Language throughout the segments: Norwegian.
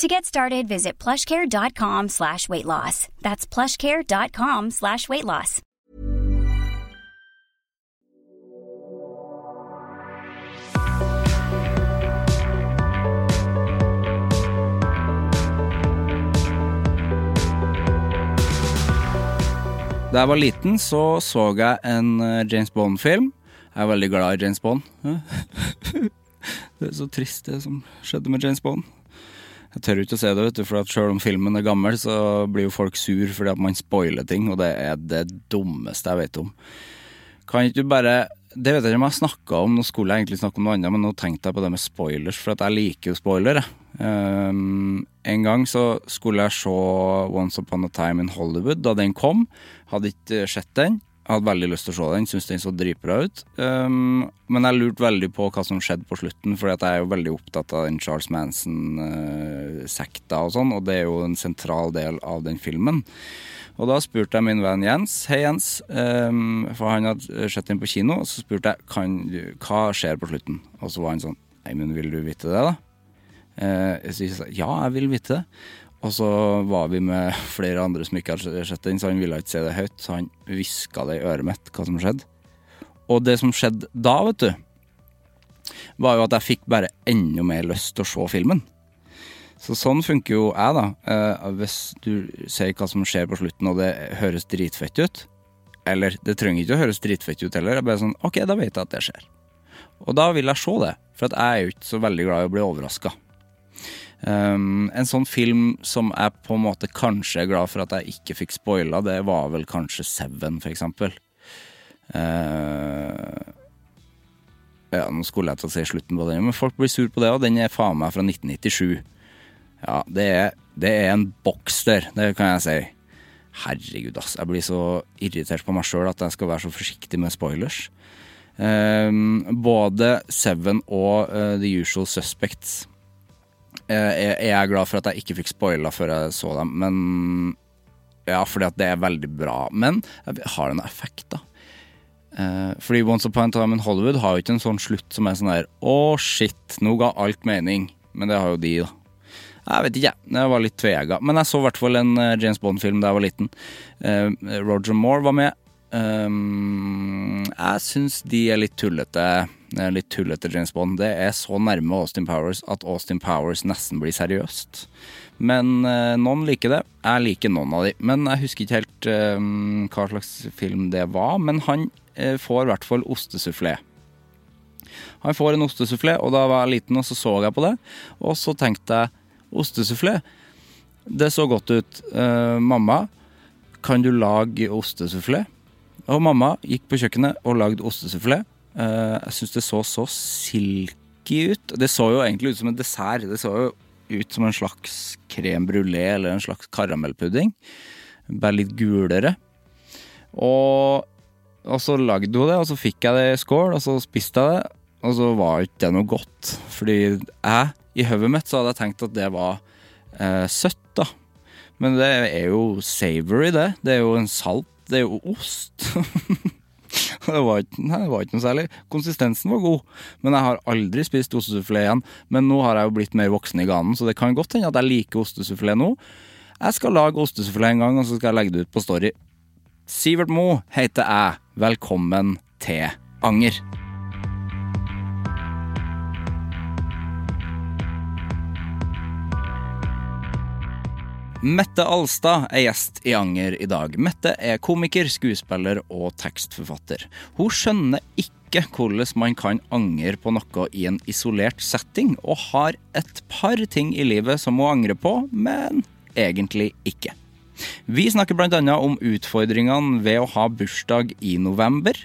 To get started, visit plushcare.com slash weight loss. That's plushcare.com slash weight loss. Da jeg var liten, så så jeg en eh, James Bond-film. Jeg er veldig glad i James Bond. Det er så trist, det som skjedde med James Bond. Jeg tør ikke å se det, vet du, for at selv om filmen er gammel, så blir jo folk sur fordi at man spoiler ting, og det er det dummeste jeg vet om. Kan ikke du bare Det vet jeg ikke om jeg har snakka om, nå skulle jeg egentlig snakke om noe annet, men nå tenkte jeg på det med spoilers, for at jeg liker jo spoiler, jeg. Ehm, en gang så skulle jeg se Once Upon a Time in Hollywood da den kom. Hadde ikke sett den. Hadde veldig lyst til å se den, syntes den så dritbra ut. Ehm, men jeg lurte veldig på hva som skjedde på slutten, for jeg er jo veldig opptatt av den Charles Manson-sekta og sånn, og det er jo en sentral del av den filmen. Og da spurte jeg min venn Jens, hei Jens, ehm, for han hadde sett den på kino, og så spurte jeg kan, du- hva skjer på slutten. Og så var han sånn, nei, men vil du vite det da? Eh, så jeg sa ja, jeg vil vite det. Og så var vi med flere andre som ikke hadde sett den, så han ville ikke se det høyt. Så han hviska det i øret mitt hva som skjedde. Og det som skjedde da, vet du, var jo at jeg fikk bare enda mer lyst til å se filmen. Så sånn funker jo jeg, da. Eh, hvis du ser hva som skjer på slutten, og det høres dritfett ut Eller det trenger ikke å høres dritfett ut heller. Jeg er bare sånn Ok, da vet jeg at det skjer. Og da vil jeg se det, for at jeg er jo ikke så veldig glad i å bli overraska. Um, en sånn film som jeg på en måte kanskje er glad for at jeg ikke fikk spoila, det var vel kanskje Seven, for eksempel. Eh, ja, nå skulle jeg til å si slutten på den, men folk blir sur på det, og den er faen meg fra 1997. Ja, det er, det er en boks der, det kan jeg si. Herregud, ass. Jeg blir så irritert på meg sjøl at jeg skal være så forsiktig med spoilers. Eh, både Seven og eh, The Usual Suspects Eh, jeg jeg er glad for at jeg ikke fikk spoila før jeg så dem, men Ja, fordi at det er veldig bra. Men jeg har en effekt, da. Eh, Fordi Once Upon a Time in Hollywood har jo ikke en sånn slutt som er sånn der Å, shit, nå ga alt mening. Men det har jo de, da. Jeg vet ikke, jeg. Jeg var litt tvega. Men jeg så i hvert fall en eh, James Bond-film da jeg var liten. Eh, Roger Moore var med. Um, jeg syns de er litt tullete. eh, Litt tullete James Bond. Det er så nærme Austin Powers at Austin Powers nesten blir seriøst. Men eh, noen liker det. Jeg liker noen av de. Men jeg husker ikke helt eh, hva slags film det var. Men han eh, får i hvert fall ostesufflé. Han får en ostesufflé, og da var jeg liten og så så jeg på det. Og så tenkte jeg ostesufflé, det så godt ut. Eh, mamma, kan du lage ostesufflé? Og mamma gikk på kjøkkenet og lagde ostesufflé. Eh, jeg syns det så så silky ut. Det så jo egentlig ut som en dessert. Det så jo ut som en slags krem brulé eller en slags karamellpudding. Bare litt gulere. Og, og så lagde hun det, og så fikk jeg det i skål, og så spiste jeg det. Og så var jo ikke det noe godt. Fordi jeg, i hodet mitt, så hadde jeg tenkt at det var eh, søtt, da. Men det er jo savory, det. Det er jo en salt. Det er jo ost. det, var ikke, nei, det var ikke noe særlig. Konsistensen var god, men jeg har aldri spist ostesufflé igjen. Men nå har jeg jo blitt mer voksen i ganen, så det kan godt hende at jeg liker ostesufflé nå. Jeg skal lage ostesufflé en gang, og så skal jeg legge det ut på Story. Sivert Mo heter jeg. Velkommen til Anger. Mette Alstad er gjest i Anger i dag. Mette er komiker, skuespiller og tekstforfatter. Hun skjønner ikke hvordan man kan angre på noe i en isolert setting, og har et par ting i livet som hun angrer på, men egentlig ikke. Vi snakker bl.a. om utfordringene ved å ha bursdag i november.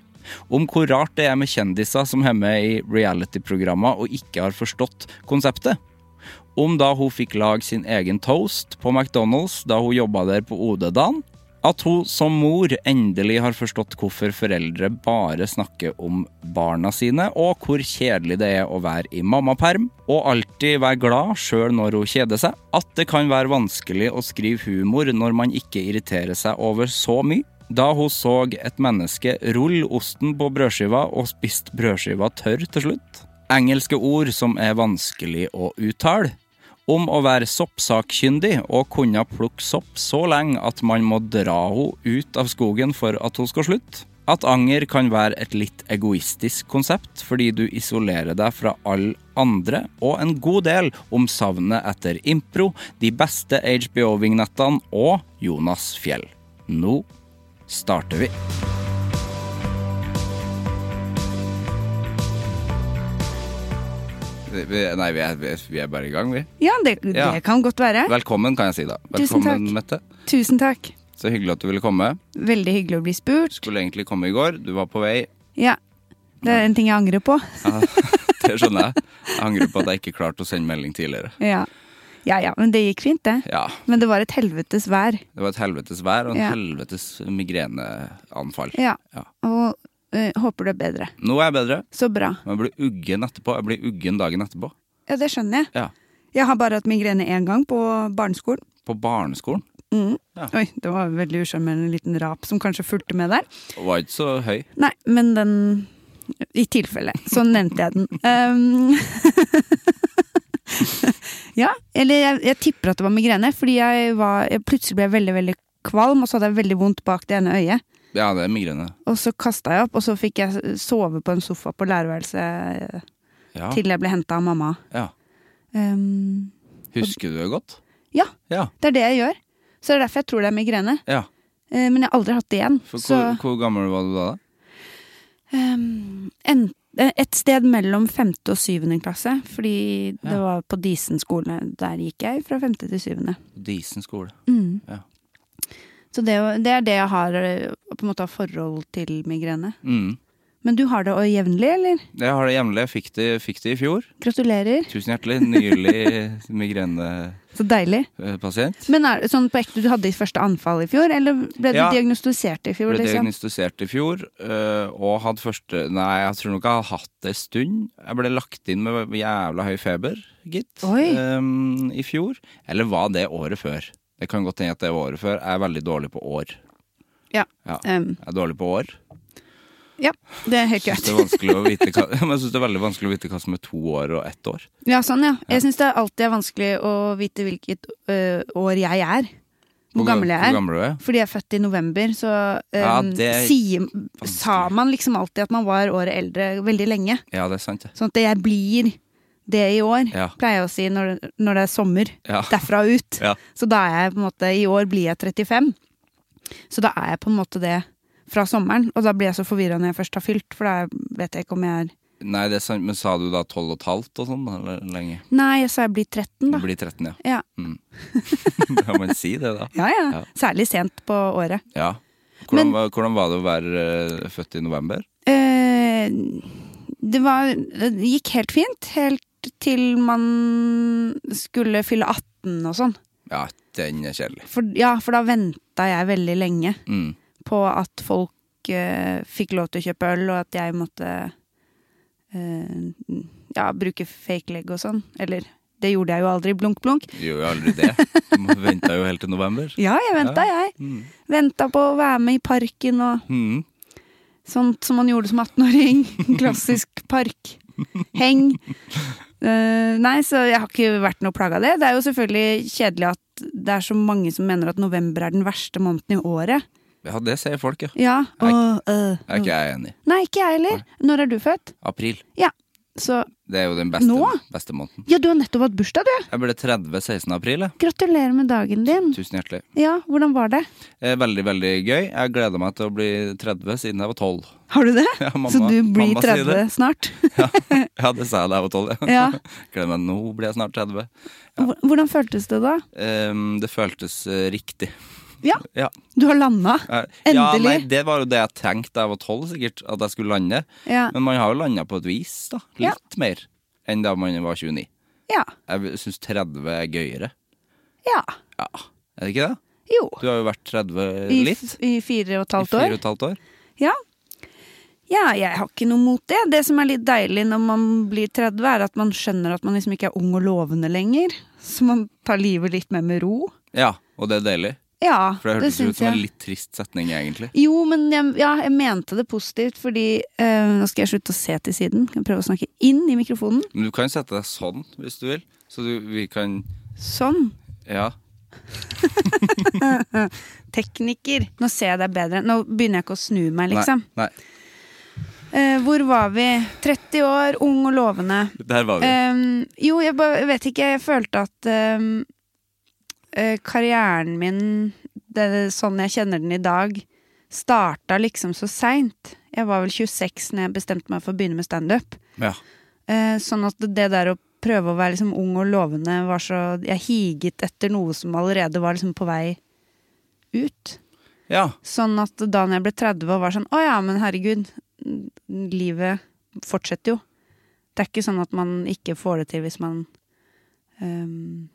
Om hvor rart det er med kjendiser som er med i reality-programmer og ikke har forstått konseptet om da hun fikk lage sin egen toast på McDonald's da hun jobba der på OD-dagen, at hun som mor endelig har forstått hvorfor foreldre bare snakker om barna sine, og hvor kjedelig det er å være i mammaperm, og alltid være glad sjøl når hun kjeder seg, at det kan være vanskelig å skrive humor når man ikke irriterer seg over så mye, da hun så et menneske rulle osten på brødskiva og spiste brødskiva tørr til slutt engelske ord som er vanskelig å uttale, om å være soppsakkyndig og kunne plukke sopp så lenge at man må dra henne ut av skogen for at hun skal slutte, at anger kan være et litt egoistisk konsept fordi du isolerer deg fra alle andre, og en god del om savnet etter impro, de beste HBO-vignettene og Jonas Fjell. Nå starter vi. Vi- Nei, vi er, vi er- vi er bare i gang, vi. Ja, det, det Ja. kan godt være. Velkommen, kan jeg si da. Tusen Velkommen, Mette. takk. Tusen takk. Så hyggelig at du ville komme. Veldig hyggelig å bli spurt. Skulle egentlig komme i går, du var på vei. Ja. Det er en ting jeg angrer på. Ja, det skjønner jeg. Jeg angrer på at jeg ikke klarte å sende melding tidligere. Ja. ja ja, men det gikk fint, det. Ja, Men det var et helvetes vær. det var et helvetes vær og en Ja. helvetes migreneanfall. Ja. Ja. Og eh, håper det er bedre. Nå er jeg bedre, Så bra. men jeg blir uggen etterpå. Jeg blir uggen dagen etterpå. Ja, det skjønner jeg. Ja. Jeg har bare hatt migrene én gang på barneskolen. På barneskolen. Mm. Ja. Oi, det var veldig usjarmerende liten rap som kanskje fulgte med der. Og var ikke så høy. Nei, men den I tilfelle, så nevnte jeg den. Um, ja, eller jeg, jeg tipper at det var migrene, fordi jeg var jeg Plutselig ble jeg veldig, veldig kvalm, og så hadde jeg veldig vondt bak det ene øyet. Ja, det er migrene. Og så kasta jeg opp, og så fikk jeg sove på en sofa på lærerværelset eh, Ja. til jeg ble henta av mamma. ja. Um, Husker du det godt? ja, Ja. det er det jeg gjør. Så det er derfor jeg tror det er migrene. ja. Eh, men jeg har aldri hatt det igjen. For Så hvor, hvor gammel var du da? da? Ehm, en, et sted mellom femte og syvende klasse, fordi det var på Disen skole. Der gikk jeg fra femte til syvende. Disen skole. Mm. Ja. Så det, er jo- det er det jeg har eh, på en måte av forhold til migrene. Mm. Men du har det og jevnlig, eller? Jeg har det jevnlig. Jeg fikk det, fikk det i fjor. Gratulerer. Tusen hjertelig. Nylig migrenepasient. Så deilig. eh, Men er det sånn på ekte, du hadde ditt første anfall i fjor, eller ble du Ja. diagnostisert i fjor? Ble Liksom? diagnostisert i fjor, øh, og hadde første Nei, jeg tror nok jeg har hatt det en stund. Jeg ble lagt inn med jævla høy feber, gitt, Oi. øhm, i fjor. Eller var det året før? Det kan godt hende at det var året før. Jeg er veldig dårlig på år. Ja. Ja. Ehm, Jeg er dårlig på år. ja, det er helt Synes greit. det, er vanskelig å vite hva, men jeg synes det er veldig vanskelig å vite hva som er to år og ett år. Ja, sånn, ja. Jeg syns det er alltid er vanskelig å vite hvilket øh, år jeg er. Hvor gammel jeg Hvor er. gammel du er. Fordi jeg er født i november, så um, Ja, det er sier, sa man liksom alltid at man var året eldre veldig lenge. Ja, det er sant, det. Sånn at jeg blir det i år, Ja. pleier jeg å si når, når det er sommer. Ja. Derfra og ut. Ja. Så da er jeg på en måte I år blir jeg 35. Så da er jeg på en måte det fra sommeren. Og da blir jeg så forvirra når jeg først har fylt, for da vet jeg ikke om jeg er Nei, det er sant. Men sa du da tolv og et halvt og sånn, eller lenge? Nei, jeg sa jeg blir 13, Du da. blir 13, ja. Ja. Mm. Kan man si det, da? Ja, ja. Ja. Særlig sent på året. Ja. Hvordan, Men- var- hvordan var det å være eh, født i november? Eh, det var Det gikk helt fint, helt til man skulle fylle 18 og sånn. Ja, den er kjedelig. For, ja, for da venta jeg veldig lenge Mm. på at folk eh, fikk lov til å kjøpe øl, og at jeg måtte eh, ja, bruke fake leg og sånn. Eller det gjorde jeg jo aldri, blunk, blunk. Du gjør jo aldri det. Du venta jo helt til november. Ja, jeg venta, jeg. Mm. Venta på å være med i parken og Mm. Sånt som man gjorde som 18-åring. Klassisk park. Heng. Eh, nei, så jeg har ikke vært noe plaga av det. Det er jo selvfølgelig kjedelig at at det er så mange som mener at november er den verste måneden i året. Ja, det sier folk, ja. Ja, og øh, Det er ikke jeg enig i. Nei, ikke jeg heller. Når er du født? April. Ja, så Det er jo den beste, Nå? beste måneden. Ja, du har nettopp hatt bursdag, du! Jeg ble 30 16. april, jeg. Gratulerer med dagen din. Tusen hjertelig. Ja, hvordan var det? Eh, Veldig, veldig gøy. Jeg gleder meg til å bli 30 siden jeg var 12. Har du det? Ja, mamma- så du blir mamma sier 30 snart? Ja, det sa jeg da jeg var 12, ja. Ja. Gleder meg, nå blir jeg snart 30. Hvor- Hvordan føltes det da? Ehm, det føltes eh, riktig. Ja, Ja. du har landa. Jeg- Eh, Ja, Endelig. nei, det var jo det jeg tenkte da jeg var 12, sikkert, at jeg skulle lande. Ja. Men man har jo landa på et vis, da. Ja. Litt mer enn da man var 29. ja. Jeg syns 30 er gøyere. Ja. Ja, er det ikke det? Jo. Du har jo vært 30 I, litt. f- I fire og et I halvt fire og år. et halvt år. Ja. ja, jeg har ikke noe mot det. Det som er litt deilig når man blir 30, er at man skjønner at man liksom ikke er ung og lovende lenger. Så man tar livet litt mer med ro. Ja, og det er deilig. Ja, For det hørtes ut syns som jeg. en litt trist setning, egentlig. Jo, men jeg, ja, jeg mente det positivt, fordi eh, Nå skal jeg slutte å se til siden. Kan jeg prøve å snakke inn i mikrofonen. Men du kan sette deg sånn, hvis du vil. Så du, vi kan Sånn. Ja. Tekniker. Nå ser jeg deg bedre. Nå begynner jeg ikke å snu meg, liksom. Nei, nei. Eh, hvor var vi? 30 år, ung og lovende. Der var vi. Ehm, jo, jeg bare jeg vet ikke. Jeg følte at ehm, eh, karrieren min, det, er sånn jeg kjenner den i dag, starta liksom så seint. Jeg var vel 26 når jeg bestemte meg for å begynne med standup. ja. Eh, sånn at det der å prøve å være liksom ung og lovende var så Jeg higet etter noe som allerede var liksom på vei ut. ja. Sånn at da når jeg ble 30 og var sånn Å ja, men herregud, n- livet fortsetter jo. Det er ikke sånn at man ikke får det til hvis man ehm,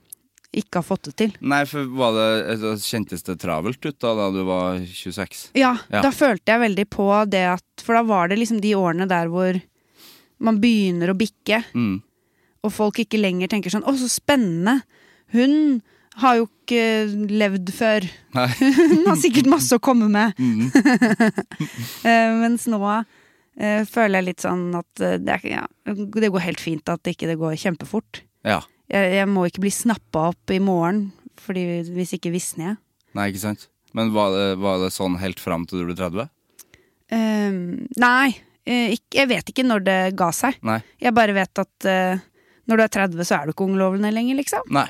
ikke har fått det til. Nei, for var det, altså, kjentes det travelt ut da, da du var 26? Ja, Ja. da følte jeg veldig på det at For da var det liksom de årene der hvor man begynner å bikke, Mm. og folk ikke lenger tenker sånn Å, så spennende! Hun har jo ikke levd før. Nei. Mm. Hun har sikkert masse å komme med. Eh, mens nå eh, føler jeg litt sånn at eh, det, er, ikke- ja, det går helt fint at ikke det går kjempefort. Ja. Jeg, jeg må ikke bli snappa opp i morgen, Fordi hvis ikke visner jeg. Nei, ikke sant? Men var det, var det sånn helt fram til du ble 30? Eh, nei, eh, ikke, jeg vet ikke når det ga seg. Nei. Jeg bare vet at eh, når du er 30, så er du ikke unglovende lenger, liksom. Nei.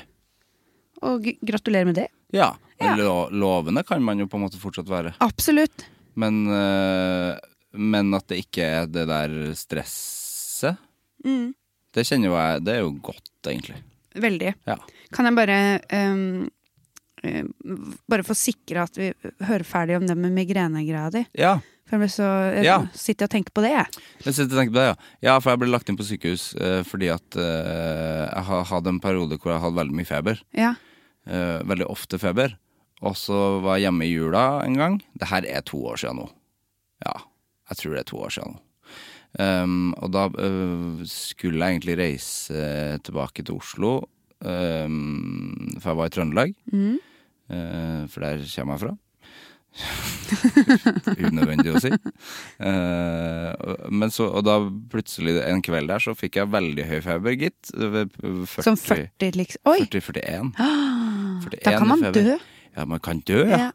Og g- gratulerer med det. Ja. Ja. Men Lo lovende kan man jo på en måte fortsatt være. Absolutt. Men, eh, men at det ikke er det der stresset, Mm. det kjenner jo jeg Det er jo godt, egentlig. Veldig. Ja. Kan jeg bare ehm, eh, Bare få sikre at vi hører ferdig om det med migrenegreia di. ja. For jeg ble så jeg Ja. sitter og tenker på det, jeg. Jeg sitter og tenker på det, ja. ja, for jeg ble lagt inn på sykehus eh, fordi at eh, jeg ha- hadde en periode hvor jeg hadde veldig mye feber. Ja. eh, veldig ofte feber. Og så var jeg hjemme i jula en gang. Det her er to år siden nå. Ja, jeg tror det er to år siden nå. Ehm, og da øh, skulle jeg egentlig reise eh, tilbake til Oslo, ehm, for jeg var i Trøndelag. Eh, for der kommer jeg fra. Unødvendig å si. Eh, og- men så, og da plutselig en kveld der så fikk jeg veldig høy feber, gitt. Ved 40, Som 40, liksom. Oi! 40-41. Ah, 41 da kan man i feber. dø. Ja, man kan dø, ja. Ja.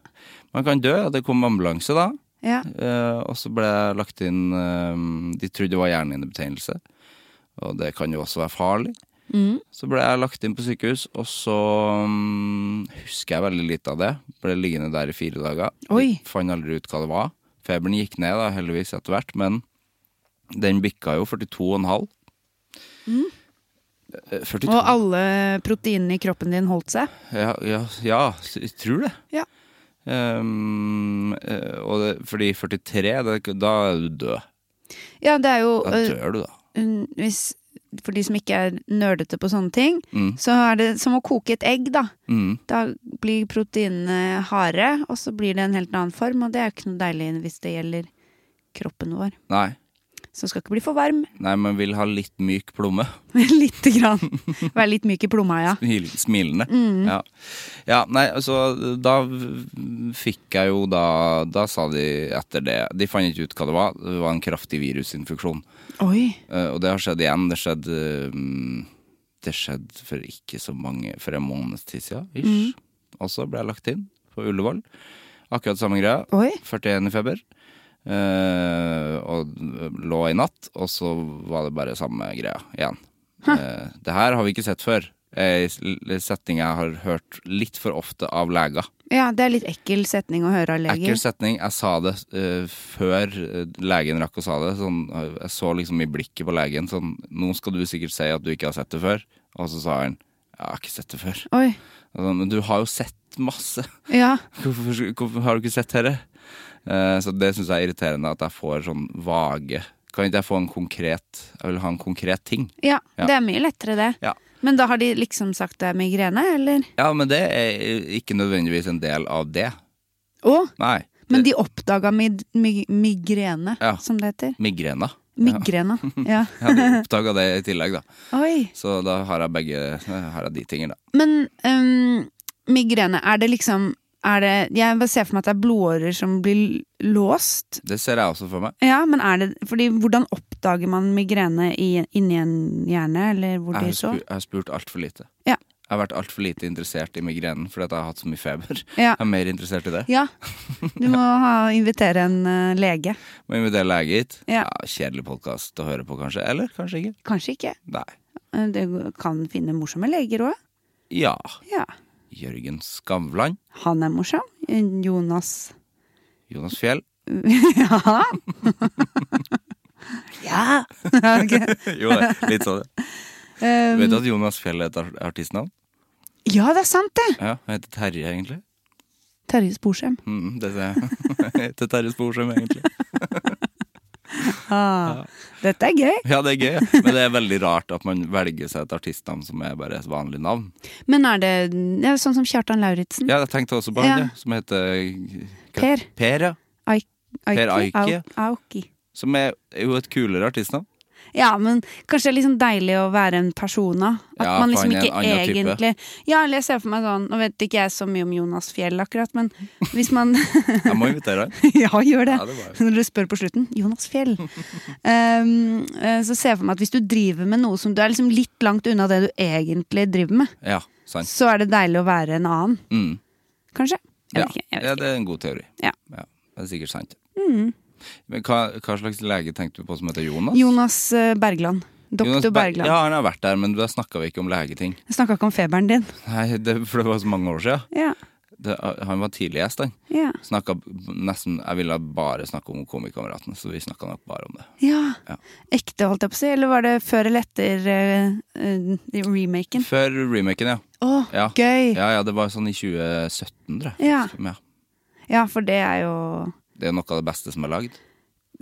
Man kan dø, ja. Det kom ambulanse da, Ja. eh, og så ble jeg lagt inn eh, De trodde det var hjernehinnebetennelse, og det kan jo også være farlig. Mm. Så ble jeg lagt inn på sykehus, og så mm, husker jeg veldig lite av det. Ble liggende der i fire dager. Oi. Jeg Fant aldri ut hva det var. Feberen gikk ned da, heldigvis etter hvert, men den bikka jo 42,5. Eh, 42. Mm. Og alle proteinene i kroppen din holdt seg. Ja, ja, ja s- jeg tror det. Ja. Ehm, eh, og det, fordi 43, det, da er du død. Ja, det er jo Da øh, dør du, da. un- hvis, For de som ikke er nerdete på sånne ting, Mm. så er det som å koke et egg, da. Mm. Da blir proteinene harde, og så blir det en helt annen form, og det er jo ikke noe deilig hvis det gjelder kroppen vår. Nei. Så den skal ikke bli for varm. Nei, man vil ha litt myk plomme. Lite grann. Være litt myk i plomma, ja. Smil- Smilende. Ja. ja, nei, altså Da v- fikk jeg jo da Da sa de etter det De fant ikke ut hva det var. Det var en kraftig virusinfeksjon. Oi. Eh, og det har skjedd igjen. Det skjedde mm, Det skjedde for ikke så mange For en måneds tid siden. Ish. også ble jeg lagt inn på Ullevål. Akkurat samme greia. Oi. 41 i feber. Eh, og lå i natt, og så var det bare samme greia igjen. Eh, det her har vi ikke sett før. Eh, i setning jeg har hørt litt for ofte av leger. Ja, det er litt ekkel setning å høre av leger. Ekkel setning. Jeg sa det eh, før eh, legen rakk å sa det. Sånn, eh, jeg så liksom i blikket på legen sånn Nå skal du sikkert si at du ikke har sett det før. Og så sa han Jeg har ikke sett det før. Oi. Og sånn, Men du har jo sett masse. Ja. Hvorfor, skulle- hvorfor har du ikke sett dette? Eh, så det syns jeg er irriterende at jeg får sånn vage Kan ikke jeg få en konkret Jeg vil ha en konkret ting. ja. Ja. Det er mye lettere, det. Ja. Men da har de liksom sagt det er migrene, eller? Ja, men det er ikke nødvendigvis en del av det. Å! Nei. Men de oppdaga mig mig migrene, Ja. som det heter. Migrena. Migrena. Ja. Jeg hadde oppdaga det i tillegg, da. Oi. Så da har jeg begge eh, har jeg de tingene. Men øhm, migrene, er det liksom er det, Jeg bare ser for meg at det er blodårer som blir låst. Det ser jeg også for meg. Ja, men er det Fordi hvordan oppdager man migrene i, inni en hjerne, eller hvor Jeg de har, så? spurt, jeg har spurt altfor lite. Ja. Jeg har vært altfor lite interessert i migrenen fordi at jeg har hatt så mye feber. Ja. Jeg er mer interessert i det. ja. Du må ha, invitere en ø, lege. Må invitere lege hit. Ja. kjedelig podkast å høre på, kanskje. Eller kanskje ikke. Kanskje ikke. Nei. Du kan finne morsomme leger òg. Ja. Ja. Jørgen Skavlan. Han er morsom. Jonas Jonas Fjell. Ja! ja! Ok. jo, det er litt sånn. Um, Vet du at Jonas Fjell er et art- artistnavn? ja, det er sant, det! Ja, Han heter Terje, egentlig. Terje Sporsem. Mm, det ser jeg. Han heter Terje Sporsem, egentlig. Ah, Dette er gøy. Ja, det er gøy, men det er veldig rart at man velger seg et artistnavn som er bare et vanlig navn. Men er det ja, sånn som Kjartan Lauritzen? Ja, jeg tenkte også på Ja. han, ja. som heter eh, Per. Per, ja. Aik- Per Aiki? Aiki. Au- Auki. Som er jo et kulere artistnavn. Ja, men kanskje det er liksom deilig å være en persona. At Ja, man for han liksom er en ikke annen type. egentlig Ja, eller jeg ser for meg sånn Nå vet ikke jeg så mye om Jonas Fjell akkurat, men hvis man Jeg må invitere han. Ja, gjør det. Ja, det var Når du spør på slutten Jonas Fjell. Um, eh, så ser jeg for meg at hvis du driver med noe som du er liksom litt langt unna det du egentlig driver med, Ja, sant. så er det deilig å være en annen, Mm. kanskje. Ja. Jeg vet ikke. Jeg ja, vet ikke. det er en god teori. Ja. Mm. det er sikkert sant. Men hva, hva slags lege tenkte du på som heter Jonas? Jonas eh, Bergland. Jonas Doktor Ber- Bergland. Ja, han har vært der, men da snakka vi ikke om legeting. Jeg snakka ikke om feberen din. Nei, det, for det var så mange år siden. Ja, Det, han var tidlig gjest, han. ja. Snakka nesten Jeg ville bare snakke om Komikameratene, så vi snakka nok bare om det. ja. Ja. Ekte, holdt jeg på å si. Eller var det før eller etter eh, eh, remaken? Før remaken, ja. Å, Ja. gøy! Ja. Ja, ja, det var sånn i 2017, tror jeg. Ja. Som, ja. for det er jo Det er noe av det beste som er lagd.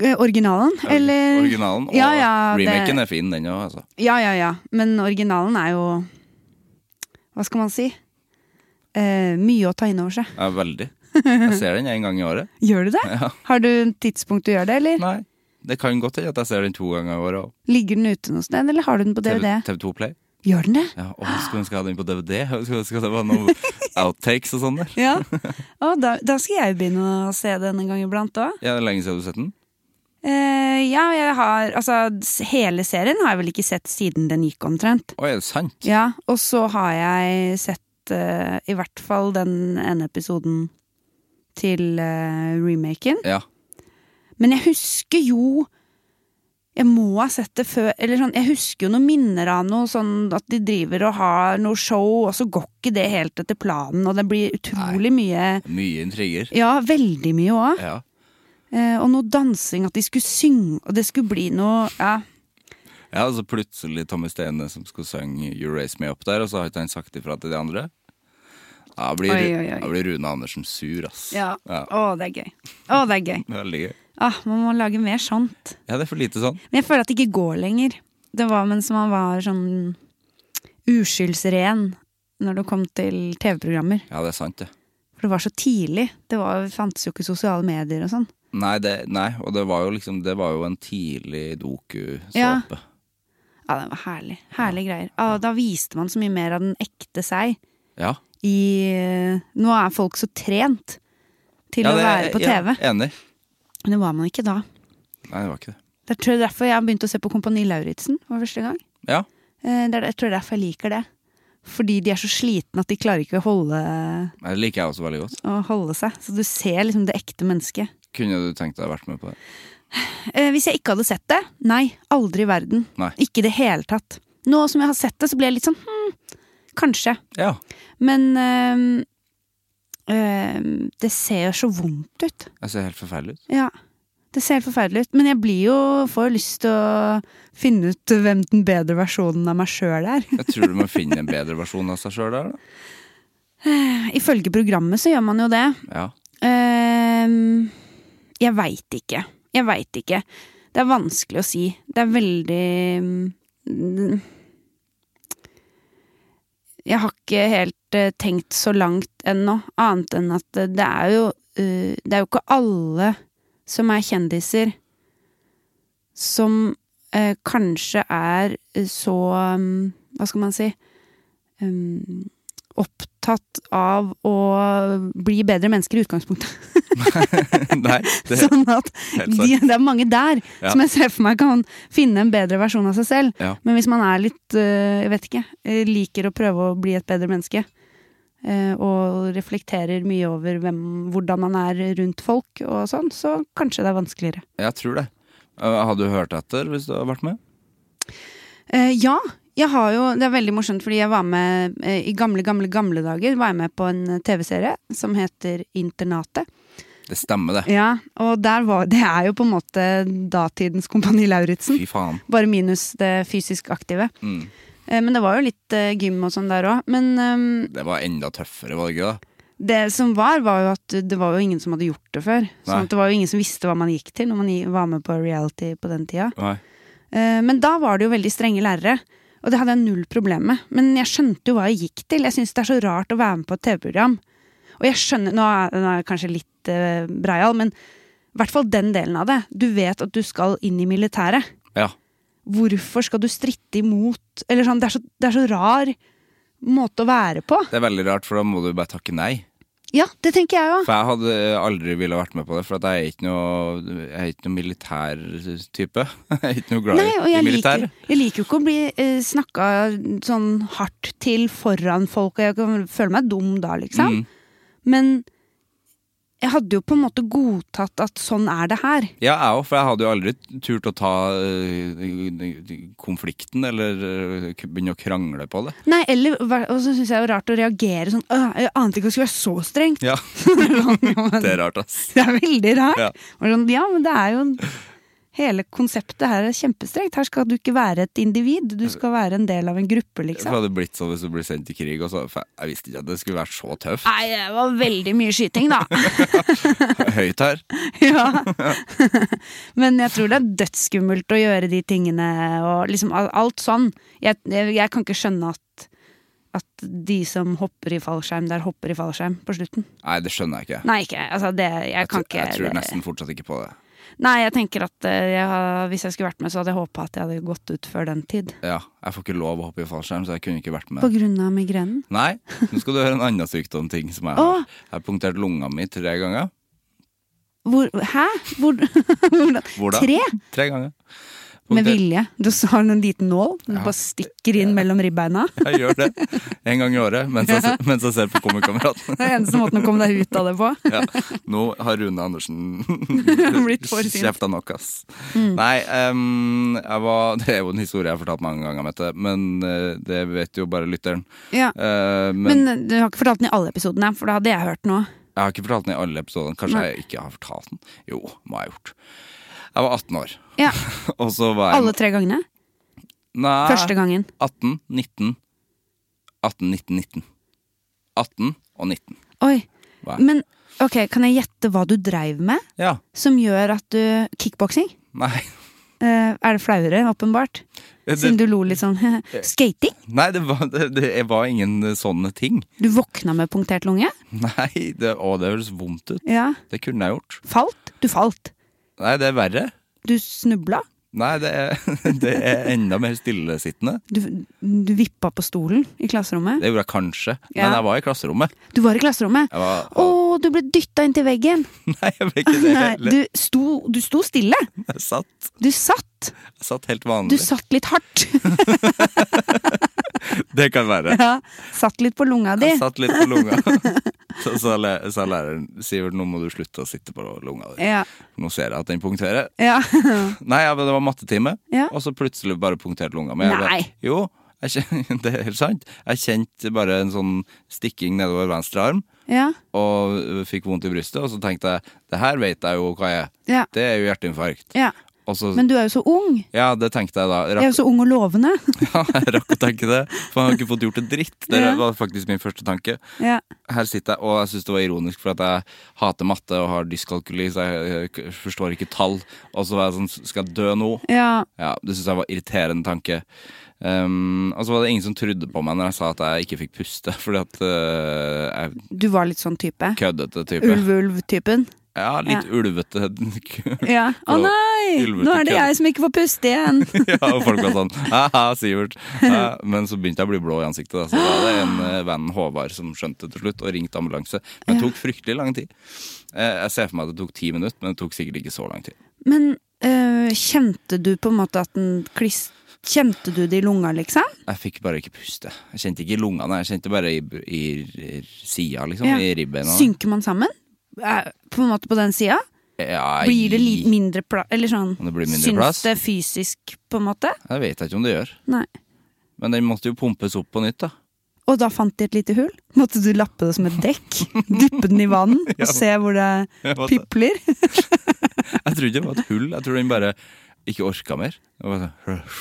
eh, Originalen, eller? Originalen. Og Ja, ja, det- remaken er fin, den òg, altså. Ja, ja, ja. Men originalen er jo Hva skal man si? Eh, mye å ta inn over seg. Ja, veldig. Jeg ser den en gang i året. Gjør du det? Ja. Har du et tidspunkt du gjør det, eller? Nei. Det kan godt hende at jeg ser den to ganger i året òg. Ligger den ute noe sted, eller har du den på DVD? TV2 Play. Gjør den det? Ja, å, skulle ønske jeg hadde den på DVD. Jeg Skulle ønske det var noen outtakes og sånn der. Ja. Å, da, da skal jeg begynne å se den en gang iblant òg. Ja, det er lenge siden du har sett den? Eh, ja, jeg har Altså, s- hele serien har jeg vel ikke sett siden den gikk, omtrent. Å, er det sant? Ja, og så har jeg sett eh, i hvert fall den ene episoden til eh, remaken. Ja. Men jeg husker jo Jeg må ha sett det før Eller sånn, jeg husker jo noen minner av noe sånn at de driver og har noe show, og så går ikke det helt etter planen, og det blir utrolig mye Mye intriger. Ja, veldig mye òg. Ja. Eh, og noe dansing, at de skulle synge, og det skulle bli noe Ja. Ja, og så plutselig Tommy Stene som skulle synge You Raise Me Up der, og så har ikke han sagt ifra til de andre. Da blir, Oi, oi, oi. da blir Rune Andersen sur, ass. Ja, Å, det er gøy. Å, det er gøy. veldig gøy. Ah, man må lage mer sånt. Ja, det er for lite sånn. Men jeg føler at det ikke går lenger. Det var mens man var sånn uskyldsren når det kom til TV-programmer. Ja, det er sant, det. For det var så tidlig. Det var, fantes jo ikke sosiale medier og sånn. Nei, det, nei, og det var jo liksom Det var jo en tidlig doku-såpe. Ja. Ja, det var herlig. Herlige greier. Ja, da viste man så mye mer av den ekte seg. Ja. I eh, Nå er folk så trent til Ja, å det- være på TV. Ja, enig. Men det var man ikke da. Nei, det var ikke det. Det er tror jeg derfor jeg begynte å se på Kompani Lauritzen for første gang. Ja. Eh, Det er, jeg tror derfor jeg liker det. fordi de er så slitne at de klarer ikke å holde, Det liker jeg også veldig godt. å holde seg. Så du ser liksom det ekte mennesket. Kunne du tenkt deg å vært med på det? Eh, hvis jeg ikke hadde sett det, nei, aldri i verden. Nei. Ikke i det hele tatt. Nå som jeg har sett det, så blir jeg litt sånn hm, kanskje. Ja. Men ehm, ehm, det ser jo så vondt ut. Jeg ser helt forferdelig ut. Ja. Det ser helt forferdelig ut. Men jeg blir jo, får jo lyst til å finne ut hvem den bedre versjonen av meg sjøl er. Jeg tror du må finne en bedre versjon av seg sjøl der, da. Ifølge programmet så gjør man jo det. Ja. Ehm, jeg veit ikke. Jeg veit ikke. Det er vanskelig å si. Det er veldig mm, Jeg har ikke helt eh, tenkt så langt ennå, annet enn at eh, det er jo eh, Det er jo ikke alle som er kjendiser, som eh, kanskje er eh, så mm, Hva skal man si? Um, opptatt av å bli bedre mennesker i utgangspunktet. Nei, det, sånn at helt sant. de, det er mange der Ja. som jeg ser for meg kan finne en bedre versjon av seg selv. Ja. Men hvis man er litt, øh, jeg vet ikke, øh, liker å prøve å bli et bedre menneske, øh, og reflekterer mye over hvem, hvordan man er rundt folk og sånn, så kanskje det er vanskeligere. jeg tror det. Eh, Hadde du hørt etter hvis du hadde vært med? Eh, ja, jeg har jo, det er veldig morsomt fordi jeg var med eh, i gamle, gamle, gamle dager, var jeg med på en tv-serie som heter Internatet. Det stemmer, det. Ja, og der var, det er jo på en måte datidens Kompani Lauritzen. Fy faen. Bare minus det fysisk aktive. Mm. Eh, Men det var jo litt eh, gym og sånn der òg. Men ehm, Det var enda tøffere, var det ikke det? det som var, var jo at det var jo ingen som hadde gjort det før. Nei. Sånn at det var jo ingen som visste hva man gikk til når man i- var med på reality på den tida. Nei. Eh, Men da var det jo veldig strenge lærere. Og det hadde jeg null problem med. Men jeg skjønte jo hva jeg gikk til. Jeg syns det er så rart å være med på et TV-program. Og jeg skjønner Nå er, nå er jeg kanskje litt eh, breial, men i hvert fall den delen av det. Du vet at du skal inn i militæret. Ja. Hvorfor skal du stritte imot Eller sånn, det er så, det er så rar måte å være på. Det er veldig rart, for da må du bare takke nei. Ja, det tenker jeg òg. For jeg hadde aldri ville vært med på det, for at jeg er ikke noe, jeg er ikke noe militær type. Jeg er ikke noe glad Nei, og i jeg liker, militæret. jeg liker jo ikke å bli eh, snakka sånn hardt til foran folk, og jeg kan føle meg dum da, liksom. Mm. Men jeg hadde jo på en måte godtatt at sånn er det her. Ja, jeg òg, for jeg hadde jo aldri turt å ta øh, konflikten eller øh, k- begynne å krangle på det. Nei, eller, Og så syns jeg det er rart å reagere sånn «Åh, Jeg ante ikke at det skulle være så strengt. Ja, det det er rart, ass. er veldig rart. Ja. Og Sånn, ja, men det er jo Hele konseptet her er kjempestrengt. Her skal du ikke være et individ, du skal være en del av en gruppe, Det liksom. hadde blitt sånn hvis du ble sendt i krig. Og så, for jeg visste ikke at det skulle være så tøft. Nei, det var veldig mye skyting, da. Høyt her. Ja. Men jeg tror det er dødsskummelt å gjøre de tingene og liksom al- alt sånn. Jeg, jeg, jeg kan ikke skjønne at, at de som hopper i fallskjerm der, hopper i fallskjerm på slutten. Nei, det skjønner jeg ikke. Nei, ikke Altså, det Jeg kan Jeg, ikke jeg tror det- nesten fortsatt ikke på det. Nei, jeg tenker at eh, jeg, har- hvis jeg skulle vært med, så hadde jeg håpa at jeg hadde gått ut før den tid. Ja, Jeg får ikke lov å hoppe i fallskjerm, så jeg kunne ikke vært med. På grunn av migrenen. Nei, nå skal du høre en annen sykdomting som jeg Åh. har. Jeg har punktert lunga mi tre ganger. Hvor Hæ? Hvor, hvordan? Hvordan? Tre? Tre ganger. Med Punkter- vilje. Du har en liten nål du bare stikker inn mellom ribbeina. Jeg gjør det en gang i året mens jeg, se- mens jeg ser på Komikameratene. Det er eneste måten å komme deg ut av det på. Ja. Nå har Rune Andersen Blitt for sint. kjefta nok, ass. Mm. Nei, em, jeg var, det er jo en historie jeg har fortalt mange ganger, Mette, men eh, det vet jo bare lytteren. Ja. Eh, men, Men, du har ikke fortalt den i alle episodene, for da hadde jeg hørt noe. jeg har ikke fortalt den i alle episodene. Kanskje jeg ikke har fortalt den? Jo, må jeg ha gjort. Jeg var 18 år, Ja, og så var jeg Alle tre gangene? Nei. Første gangen. 18, 19 18, 19, 19 18 og 19 Oi. Hva? Men ok, kan jeg gjette hva du dreiv med Ja, som gjør at du Kickboksing? nei Eh, er det flauere, åpenbart? Siden det, du lo litt sånn. Skating? Nei, det var, det, det var ingen sånne ting Du våkna med punktert lunge? Nei, det, å, det høres vondt ut Ja. Det kunne jeg gjort Falt? Du falt. Nei, det er verre Du snubla. Nei, det er, det er enda mer stillesittende Du, du vippa på stolen i klasserommet. Det gjorde jeg kanskje Ja. Men jeg var i klasserommet Du var i klasserommet. Jeg var, Å, du ble dytta inntil veggen! Nei, jeg ble ikke det Nei, heller du, sto, du sto stille. Jeg satt, Du satt. jeg satt helt Du vanlig satt litt hardt. Det kan være. Ja, satt litt på lunga di. Jeg satt litt på lunga. Så sa læ- sa læreren Sivert, nå må du slutte å sitte på lunga di. Ja. Nå ser jeg at den punkterer. ja. Nei, ja, men det var mattetime, Ja. og så plutselig bare punkterte lunga mi. Nei. Jeg, jo, jeg kjen- det er helt sant. Jeg kjente bare en sånn stikking nedover venstre arm, ja. og øh, fikk vondt i brystet. Og så tenkte jeg det her vet jeg jo hva jeg er. Ja. Det er jo hjerteinfarkt. ja. Og så, Men du er jo så ung. ja, det tenkte jeg da. Jeg er Rakk, jo så ung og lovende. ja, jeg rakk å tenke det, for jeg har ikke fått gjort en dritt. Det Ja. var faktisk min første tanke. Ja. Her sitter jeg, og jeg syns det var ironisk, for at jeg hater matte og har dyskalkuli, så jeg øh, k- forstår ikke tall. Og så var jeg sånn, skal jeg dø nå? Ja. Ja, Det syns jeg var irriterende tanke. Um, og så var det ingen som trodde på meg når jeg sa at jeg ikke fikk puste, fordi at øh, jeg er Du var litt sånn type. køddete type. Ulv-ulv-typen. Ja, litt ulvete. Ja. Å Og nei! ulvete Nå er det kødd. jeg som ikke får puste igjen. ja, og folk var sånn Haha, Sivert. Ja, men så begynte jeg å bli blå i ansiktet. Da. Så da var det en eh, venn, Håvard, som skjønte det til slutt og ringte ambulanse. Men det tok fryktelig lang tid. Eh, Jeg ser for meg at det tok ti minutter, men det tok sikkert ikke så lang tid. Men øh, kjente du på en måte at den klist... Kjente du det i lunga, liksom? Jeg fikk bare ikke puste. Jeg kjente ikke i lungene, jeg kjente bare i, i, i sida, liksom. Ja. I ribbeina. Synker man sammen? Er- På en måte på den sida? Ja, Blir det litt mindre plass? Eller sånn, Om det blir mindre syns plass? det fysisk, på en måte? Jeg vet ikke om det gjør. Nei. Men den måtte jo pumpes opp på nytt, da. Og da fant de et lite hull? Måtte du lappe det som et dekk? Dyppe den i vann og se hvor det Jeg måtte- pipler? Jeg tror ikke det var et hull. Jeg tror den bare ikke orka mer. Det var sånn,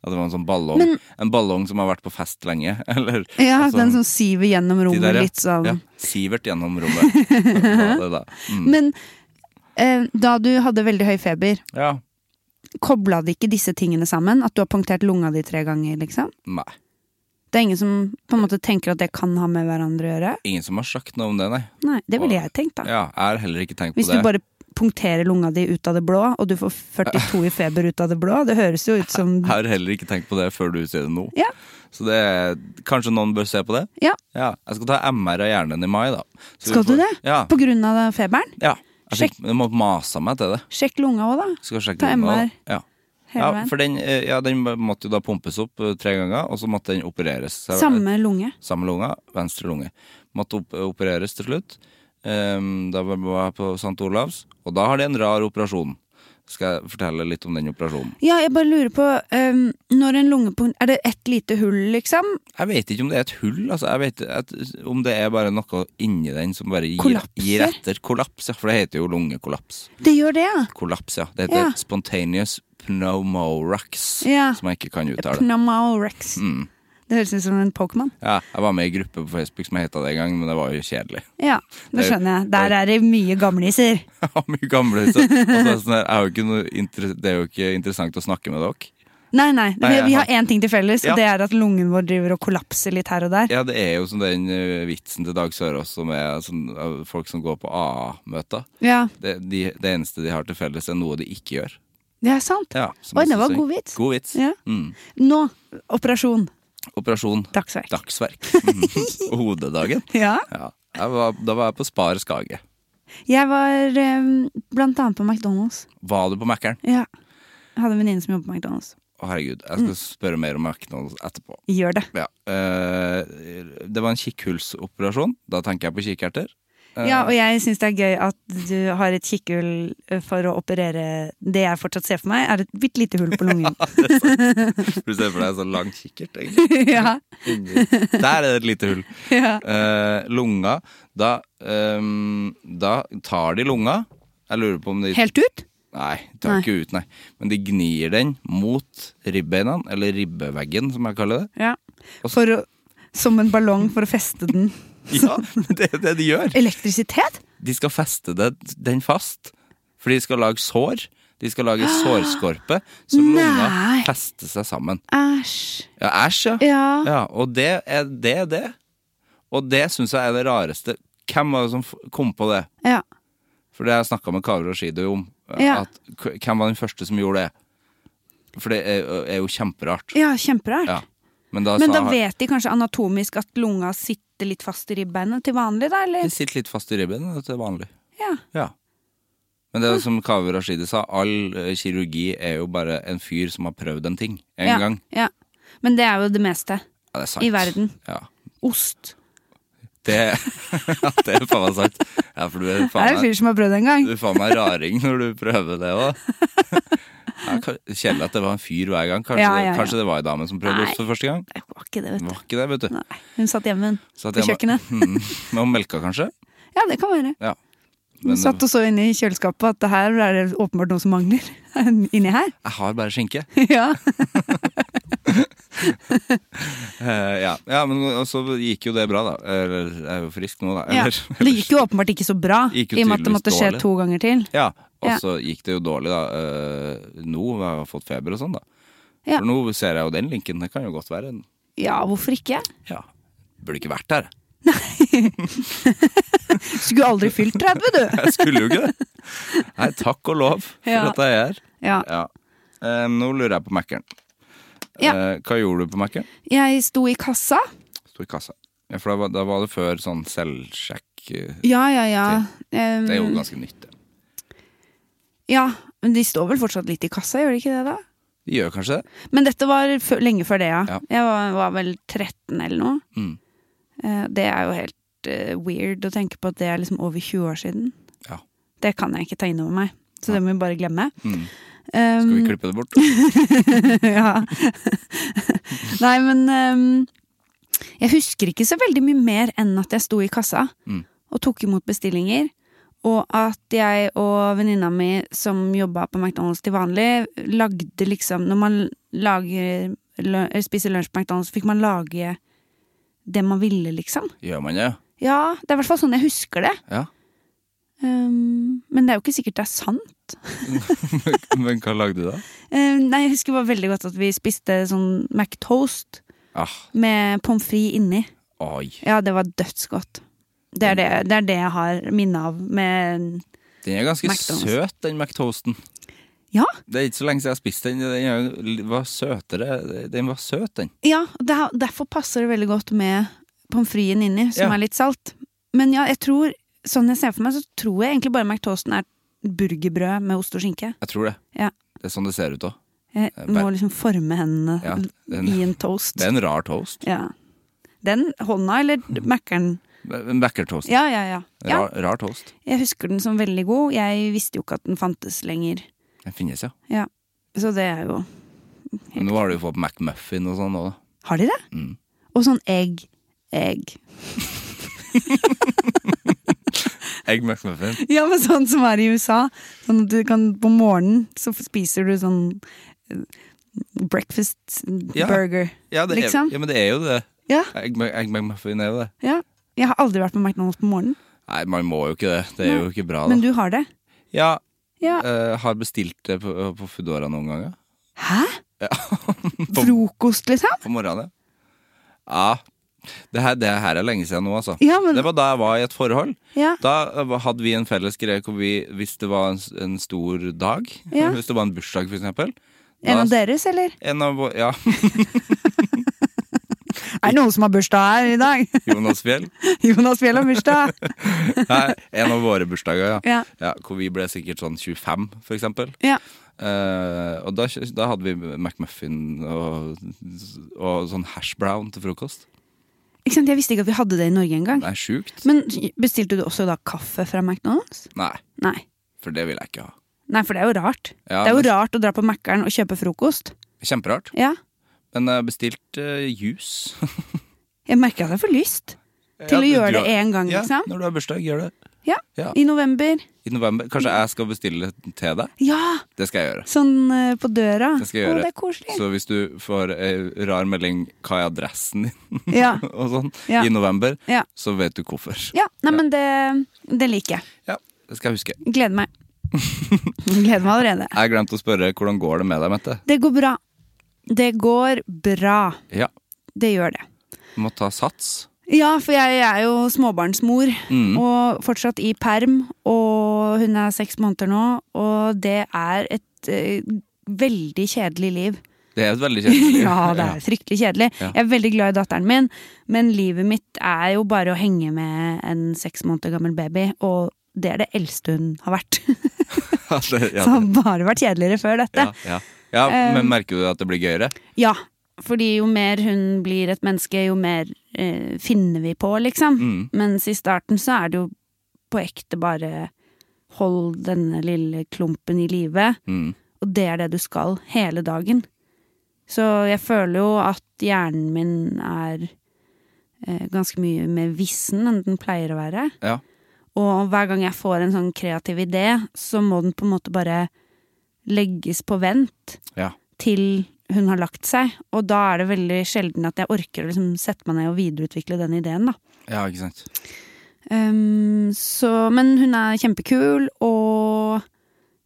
at det var en sånn ballong. en ballong som har vært på fest lenge. Eller, Ja, altså, den som siver gjennom de rommet der, ja. litt sånn. ja, Sivert gjennom rommet. Var det da. Mm. Men eh, da du hadde veldig høy feber, Ja. kobla de ikke disse tingene sammen? At du har punktert lunga di tre ganger, liksom? Nei. Det er ingen som på en måte tenker at det kan ha med hverandre å gjøre? Ingen som har sagt noe om det, nei. Nei, det ville jeg tenkt, da. Ja, jeg har heller ikke tenkt på Hvis du det. bare punkterer lunga di ut av det blå, og du får 42 i feber ut av det blå, det høres jo ut som Jeg har heller ikke tenkt på det før du sier det nå. Ja. Så det er, kanskje noen bør se på det? Ja. Jeg skal ta MR av hjernen i mai, da. Så vi Skal du får- det? Ja. På grunn av den feberen? ja. Jeg fikk, jeg må mase meg til det. Sjekk lunga òg, da. Skal sjekke Ta den nå, da. MR. Ja. Hele Ja, veien. for den, eh, ja, den måtte jo da pumpes opp eh, tre ganger, og så måtte den opereres. Så- Samme lunge. Samme lunga, venstre lunge. Måtte opp, opereres til slutt. Ehm, da var jeg på St. Olavs, og da har de en rar operasjon. Skal jeg fortelle litt om den operasjonen? Ja, jeg bare lurer på øhm, Når en lungepunkt Er det ett lite hull, liksom? Jeg vet ikke om det er et hull, altså. Jeg vet at, om det er bare noe inni den som bare gir, Kollapser? gir etter. Kollaps, ja. For det heter jo lungekollaps. Det gjør det, ja. Kollaps, ja. Det heter Ja. spontaneous pneumorax, Ja. som jeg ikke kan uttale. Pneumorex. Mm. Det høres ut som en Pokémon. Ja, jeg var med i gruppe på Facebook som heta det en gang, men det var jo kjedelig. Ja, det Det er- skjønner jeg. Der er det mye gamliser. Jeg har mye gamle så, og så er det sånn her, jeg har jo ikke noe inter det er jo ikke interessant å snakke med dere. Nei, nei. Vi, Nei, vi ja. har én ting til felles, Ja. og det er at lungen vår driver og kollapser litt her og der. Ja, det er jo som den eh, vitsen til Dag Sørås som er sånn, av folk som går på AA-møter. Ja, Det, de, det eneste de har til felles, er noe de ikke gjør. det er sant. Ja, som Oi, jeg det var synes er- god vits. God vits. Ja. Mm. Nå, operasjon. Operasjon Dagsverk. Dagsverk. Mm. Og Hodedagen. Ja. Ja. Jeg var, da var jeg på Spar Skage. Jeg var øhm, blant annet på McDonald's. Var du på Mækkern? Ja. Jeg hadde en venninne som jobbet på McDonald's. Å, herregud. Jeg Mm. skal spørre mer om McDonald's etterpå. Gjør det. Ja. eh, det var en kikkhullsoperasjon. Da tenker jeg på kikkerter. Eh, Ja, og jeg syns det er gøy at du har et kikkhull eh, for å operere Det jeg fortsatt ser for meg, er et bitte lite hull på lungen. Du ser for deg en sånn lang kikkert, egentlig. ja, Inni. Der er det et lite hull. ja. Eh, lunga da, ehm, da tar de lunga. Jeg lurer på om de Helt ut? Nei, tar Nei. ikke ut, nei. Men de gnir den mot ribbeina, eller ribbeveggen, som jeg kaller det. Ja. Og så- For å, som en ballong for å feste den. Ja, det er det de gjør. Elektrisitet? De skal feste det, den fast. For de skal lage sår. De skal lage sårskorpe, så lunga Ah. Nei. fester seg sammen. Æsj. Ja, æsj, ja. Ja. Ja, og det er det. Er det. Og det syns jeg er det rareste. Hvem var det som f- kom på det? ja. For det har jeg snakka med Kaveh Rashidi om. eh, Ja. At, k- hvem var den første som gjorde det? For det er, er jo kjemperart. Ja, kjemperart. Ja. Altså, Men da, Men da sa, vet de kanskje anatomisk at lunga sitter litt fast i ribbeinet til vanlig, da, De eller? sitter litt fast i ribben, det er vanlig. Ja. Ja. Men det er som Kaveh Rashidi sa, all eh, kirurgi er jo bare en fyr som har prøvd en ting en ja. gang. ja. Men det er jo det meste. Ja, det er sant. I verden. Ja. Ost. Det, ja, det er faen meg sant. Ja, for du er Det er faen en meg, fyr som har prøvd en gang. du er faen meg raring når du prøver det òg. Ja, ka- Kjedelig at det var en fyr hver gang. Kanskje, Ja, ja, ja. kanskje det var ei dame som prøvde Nei. ost for første gang? Det var ikke det, Det vet du. var ikke det, vet du. Nei. Hun satt hjemme, hun. Satt På hjemme- kjøkkenet. Mm, med om melka, kanskje? Ja, det kan være. Ja. Hun Men satt og så inne i kjøleskapet at det her er det åpenbart noe som mangler. Inni her. eh, jeg har bare skinke. Ja. Eh, ja. ja, men og så gikk jo det bra, da. Eller jeg er jo frisk nå, da. ja. Eller, Det gikk jo åpenbart ikke så bra, i Gikk jo og med at det tydeligvis måtte skje dårlig. to ganger til. Ja, og Ja. så gikk det jo dårlig da eh, nå, når jeg har fått feber og sånn da. Ja. For nå ser jeg jo den linken, det kan jo godt være en Ja, hvorfor ikke? Ja, burde ikke vært der. Skulle aldri fylt 30, du! Jeg skulle jo ikke det. Nei, takk og lov for Ja. at jeg er her. Ja. Ja. Eh, nå lurer jeg på Mac-en. Ja. Eh, hva gjorde du på Mac-en? Jeg sto i kassa. Sto i kassa. Ja, for da var, da var det før sånn selvsjekk eh, Ja, ja, ja. Um, Det er jo ganske nytt, det. ja. Men de står vel fortsatt litt i kassa, gjør de ikke det, da? De gjør kanskje det? Men dette var fø- lenge før det, ja. Ja. Jeg var, var vel 13 eller noe. Mm. Eh, Det er jo helt eh, weird å tenke på at det er liksom over 20 år siden. Ja. Det kan jeg ikke ta inn over meg, så det må vi bare glemme. Ehm, Mm. Skal vi Um, klippe det bort? ja. Nei, men um, jeg husker ikke så veldig mye mer enn at jeg sto i kassa Mm. og tok imot bestillinger. Og at jeg og venninna mi som jobba på McDonald's til vanlig, lagde liksom Når man lager, lø, eller spiser lunsj på McDonald's, fikk man lage det man ville, liksom. Gjør man det? Ja, det er i hvert fall sånn jeg husker det. Ja. Um, men det er jo ikke sikkert det er sant. Men hva lagde du da? Um, nei, jeg husker bare veldig godt at vi spiste sånn McToast Ah, med pommes frites inni. oi. Ja, det var dødsgodt. Det er det, det, er det jeg har minne av med Den er ganske McDonald's. søt, den McToasten. Ja, Det er ikke så lenge siden jeg har spist den. Den er jo li- var søtere. Den var søt, den. ja det, derfor passer det veldig godt med pommes fritesen inni, som Ja. er litt salt. Men ja, jeg tror, sånn jeg ser for meg, så tror jeg egentlig bare McToasten er burgerbrød med ost og skinke. Jeg tror det. Ja. Det er sånn det ser ut òg. Jeg Eh, må bare- liksom forme hendene Ja, den- i en toast. Det er en rar toast. Ja. Den hånda, eller Mækkern? En backertoast. Ja, ja, ja. ja. Rar, rar toast. Jeg husker den som veldig god. Jeg visste jo ikke at den fantes lenger. Den finnes, ja. Ja. Så det er jo Men nå har du jo fått McMuffin og sånn òg, da. Har de det? Mm. Og sånn egg. Egg. Egg McMuffin. Ja, men sånn som er i USA. Sånn at du kan på morgenen så spiser du sånn eh, breakfast Ja. burger. Ja, det er, Liksom. ja, men det er jo det. Ja, Egg, Mc- egg McMuffin er jo det. ja. Jeg har aldri vært på McDonald's på morgenen, Nei, man må jo ikke det. Det er jo ikke bra, da. men du har det. Ja, Ja. eh, har bestilt det på, på Foodora noen ganger. Hæ? Eh, På- Frokost, liksom? På morgenen, ja. ja. Det her, det her er lenge siden nå, altså. Ja, men- Det var da jeg var i et forhold. Ja. Da eh, hadde vi en felles greie hvor vi, hvis det var en, s- en stor dag, Ja. hvis det var en bursdag for eksempel da- En av deres, eller? en av vår- ja, Er det noen som har bursdag her i dag? Jonas Fjell. Jonas Fjell har bursdag! Nei, en av våre bursdager, ja. Ja. Hvor vi ble sikkert sånn 25, for eksempel. Ja. Eh, og da, kjø- da hadde vi McMuffin og, og sånn hash brown til frokost. Ikke sant, Jeg visste ikke at vi hadde det i Norge engang. Det er sjukt. Men bestilte du også da kaffe fra McDonald's? Nei, Nei. for det vil jeg ikke ha. Nei, for det er jo rart. Ja, det er jo men- rart å dra på Mækkern og kjøpe frokost. Kjemperart. Ja. Men jeg har bestilt eh, juice. Jeg merker at jeg får lyst til å Ja, gjøre du det har- én gang, ja, liksom. Når du har bursdag, gjør det. Ja. Ja. I november. I november. Kanskje jeg skal bestille til deg. Ja! Det skal jeg gjøre. Sånn eh, på døra. Det skal jeg gjøre. Å, det er koselig. Så hvis du får ei rar melding 'hva er adressen din?' Ja. og sånn Ja. i november, Ja. så vet du hvorfor. ja. Nei, men det, det liker jeg. Ja, det skal jeg huske. Gleder meg. Gleder meg allerede. Jeg glemte å spørre hvordan går det med deg, Mette. Det går bra. Det går bra. Ja, Det gjør det. du må ta sats. Ja, for jeg, er jo småbarnsmor, Mm. og fortsatt i perm. Og hun er seks måneder nå, og det er et eh, veldig kjedelig liv. Det er et veldig kjedelig liv. Ja, det er fryktelig kjedelig. Ja. Jeg er veldig glad i datteren min, men livet mitt er jo bare å henge med en seks måneder gammel baby, og det er det eldste hun har vært. Ja, det- ja, Så har bare vært kjedeligere før dette. Um, ja, ja. ja, men merker du at det blir gøyere? Ja. Fordi jo mer hun blir et menneske, jo mer eh, finner vi på, liksom. Mm. Mens i starten så er det jo på ekte bare hold denne lille klumpen i live, Mm. og det er det du skal hele dagen. Så jeg føler jo at hjernen min er eh, ganske mye mer vissen enn den pleier å være. Ja. Og hver gang jeg får en sånn kreativ idé, så må den på en måte bare legges på vent Ja. til hun har lagt seg. Og da er det veldig sjelden at jeg orker å liksom sette meg ned og videreutvikle den ideen, da. ja, ikke sant. Ehm, så, men hun er kjempekul, og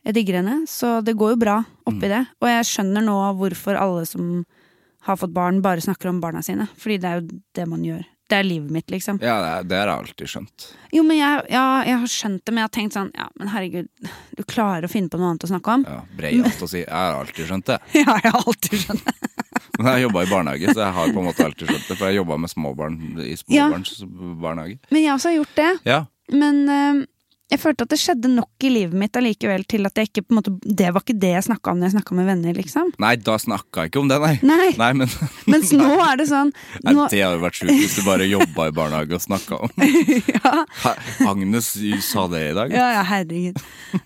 jeg digger henne, så det går jo bra oppi Mm. det. Og jeg skjønner nå hvorfor alle som har fått barn, bare snakker om barna sine. Fordi det er jo det man gjør. Det er livet mitt, liksom. Ja, det, er- det har jeg alltid skjønt. Jo, men jeg, ja, jeg har skjønt det, men jeg har tenkt sånn Ja, men herregud, du klarer å finne på noe annet å snakke om? Ja, Breialt å si. Jeg har alltid skjønt det. Ja, jeg har alltid skjønt det. Men jeg jobba i barnehage, så jeg har på en måte alltid skjønt det. For jeg jobba med småbarn i Ja. småbarnsbarnehage. Men jeg også har gjort det. Ja. Men eh, jeg følte at det skjedde nok i livet mitt allikevel til at jeg ikke på en måte Det var ikke det jeg snakka om når jeg snakka med venner, liksom. Nei, da snakka jeg ikke om det, nei. Nei. nei men Mens nå er det sånn Nei, nå, Det hadde vært sjukt hvis du bare jobba i barnehage og snakka om det. ja, Agnes sa det i dag. ja, ja, herregud.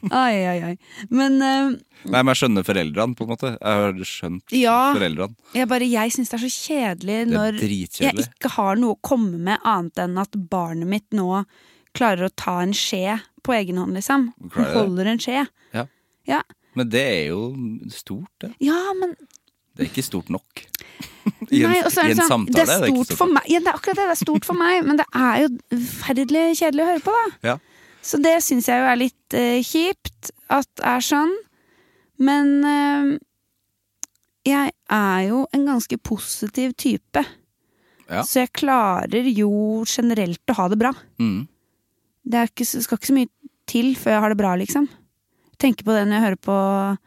Oi, oi, oi. Men eh, Nei, men jeg skjønner foreldrene, på en måte. Jeg har skjønt Ja. foreldrene. jeg bare Jeg syns det er så kjedelig Det er når jeg dritkjedelig. ikke har noe å komme med annet enn at barnet mitt nå klarer å ta en skje på egen hånd, liksom. Klarer Han det? holder en skje. Ja. Ja. Men det er jo stort, det. Ja, men Det er ikke stort nok. nei, og så er det sånn, det er ikke stort for meg. Ja, det er akkurat det, det er stort for meg, men det er jo forferdelig kjedelig å høre på, da. Ja. Så det syns jeg jo er litt eh, kjipt at det er sånn. Men eh, jeg er jo en ganske positiv type. Ja. Så jeg klarer jo generelt å ha det bra. Mm. Det er ikke, så- skal ikke så mye til før jeg har det bra, liksom. Tenker på det når jeg hører på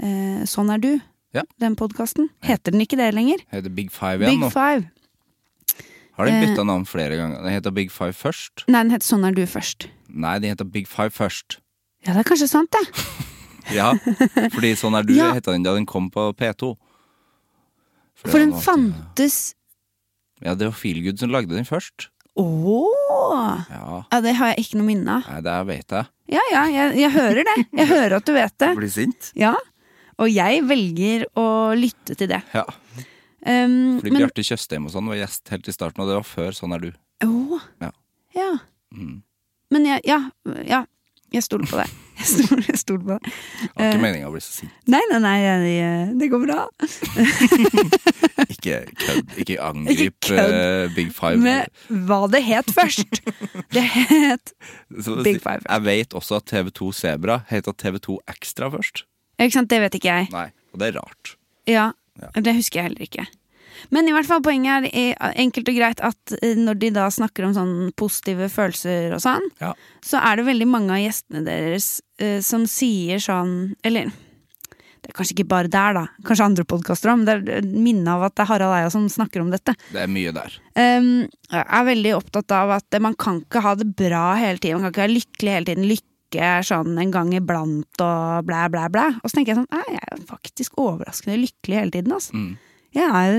eh, Sånn er du, Ja. den podkasten. Heter den ikke det lenger? Heter Big Five igjen Big nå. Five. Har de Eh. bytta navn flere ganger? Den heter Big Five først. Nei, den heter Sånn er du først. Nei, den heter Big Five først. Ja, det er kanskje sant, det. Ja, fordi sånn er du, Ja. heta den da den kom på P2. det For var den noe- fantes Ja, det var Feelgood som lagde den først. Ååå! Ja, Ja, det har jeg ikke noe minne av. nei, det vet jeg. Ja, ja, jeg, jeg hører det. Jeg hører at du vet det. Blir sint? Ja. Og jeg velger å lytte til det. Ja, Um, fordi men Bjarte Tjøstheim og sånn var gjest helt i starten, og det var før Sånn er du. Åh. Ja. ja. Mm. Men jeg Ja. ja jeg stoler på det. Jeg stoler, jeg stoler på det. Det var Eh. ikke meninga å bli så sint. Nei, nei, nei, jeg- det går bra. Ikke kødd. Ikke Ikke angrip kødd. eh, Big Five. Med hva det het først. Det het Så å Big si- Five. Jeg vet også at TV2 Sebra heter TV2 Ekstra først. Ikke sant, det vet ikke jeg. Nei, og det er rart. Ja, Ja. det husker jeg heller ikke. Men i hvert fall poenget er eh, enkelt og greit at eh, når de da snakker om sånn positive følelser og sånn, Ja. så er det veldig mange av gjestene deres eh, som sier sånn Eller det er kanskje ikke bare der, da. Kanskje andre podkaster òg, men det er eh, minnet av at det er Harald Eia som snakker om dette. Det er mye der. Um, er veldig opptatt av at man kan ikke ha det bra hele tiden. Man kan ikke være lykkelig hele tiden. Lykke er sånn en gang iblant og blæ, blæ, blæ. Og så tenker jeg sånn Nei, jeg er faktisk overraskende lykkelig hele tiden, altså. Mm. Jeg er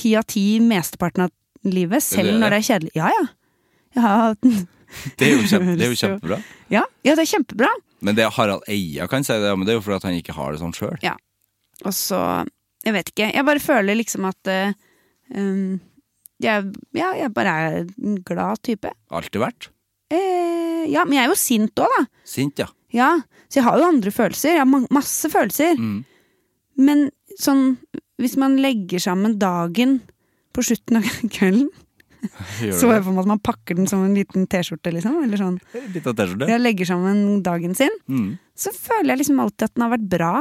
ti av ti mesteparten av livet, selv det? når det er kjedelig. Ja, ja. Jeg har hatt den. Det er jo, kjempe, det er jo Høres jo- kjempebra. Ja, ja, det er kjempebra. Men det Harald Eia kan si det, men det er jo fordi at han ikke har det sånn sjøl. Og så Jeg vet ikke. Jeg bare føler liksom at eh, um, jeg, ja, jeg bare er en glad type. Alltid vært. Eh, ja, men jeg er jo sint òg, da. Sint, ja. Ja, så jeg har jo andre følelser. Jeg har ma- masse følelser. Mm. Men sånn hvis man legger sammen dagen på slutten av kvelden, så Gjør er det for meg at man pakker den som en liten T-skjorte, liksom. Eller sånn. det. Litt av T-skjorte. Jeg legger sammen dagen sin. Mm. Så føler jeg liksom alltid at den har vært bra.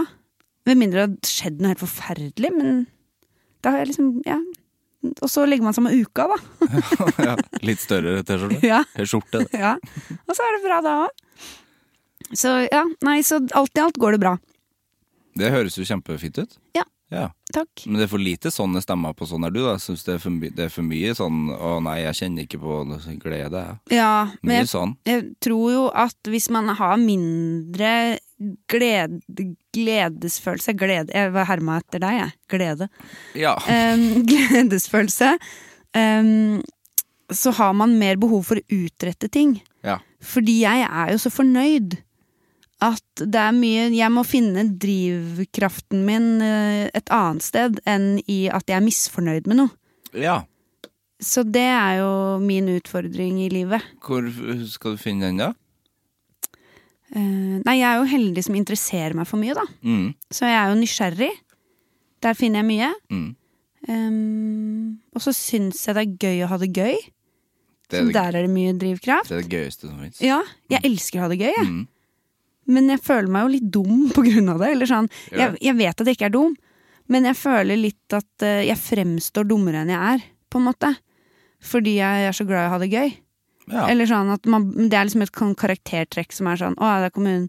Med mindre det har skjedd noe helt forferdelig, men da har jeg liksom Ja. Og så legger man sammen uka, da. ja. Litt større T-skjorte. Ja. Skjorte. det. ja. Og så er det bra da òg. Så ja, nei, så alt i alt går det bra. Det høres jo kjempefint ut. Ja. Ja. Takk. Men det er for lite sånne stemmer på sånn er du, da. Jeg syns det, er for my- det er for mye sånn 'Å nei, jeg kjenner ikke på noe sånn glede', jeg. Ja, men Mye jeg sånn. jeg tror jo at hvis man har mindre gled, gledesfølelse glede, Jeg herma etter deg, jeg. Glede. Ja. Em, gledesfølelse. em, så har man mer behov for å utrette ting. ja. Fordi jeg er jo så fornøyd at det er mye Jeg må finne drivkraften min eh, et annet sted enn i at jeg er misfornøyd med noe. ja. Så det er jo min utfordring i livet. Hvor f- skal du finne den, da? Eh, nei, jeg er jo heldig som interesserer meg for mye, da. Mm. Så jeg er jo nysgjerrig. Der finner jeg mye. Mm. Em, og så syns jeg det er gøy å ha det gøy. Det, Så er det, der er det mye drivkraft. det er det gøyeste som fins. Ja, jeg elsker å ha det gøy, jeg. Mm. Men jeg føler meg jo litt dum på grunn av det. Eller sånn. Ja. jeg, jeg vet at jeg ikke er dum, men jeg føler litt at eh, jeg fremstår dummere enn jeg er, på en måte. Fordi jeg er så glad i å ha det gøy. Ja. Eller sånn at man, Det er liksom et kon- karaktertrekk som er sånn Å, der kom hun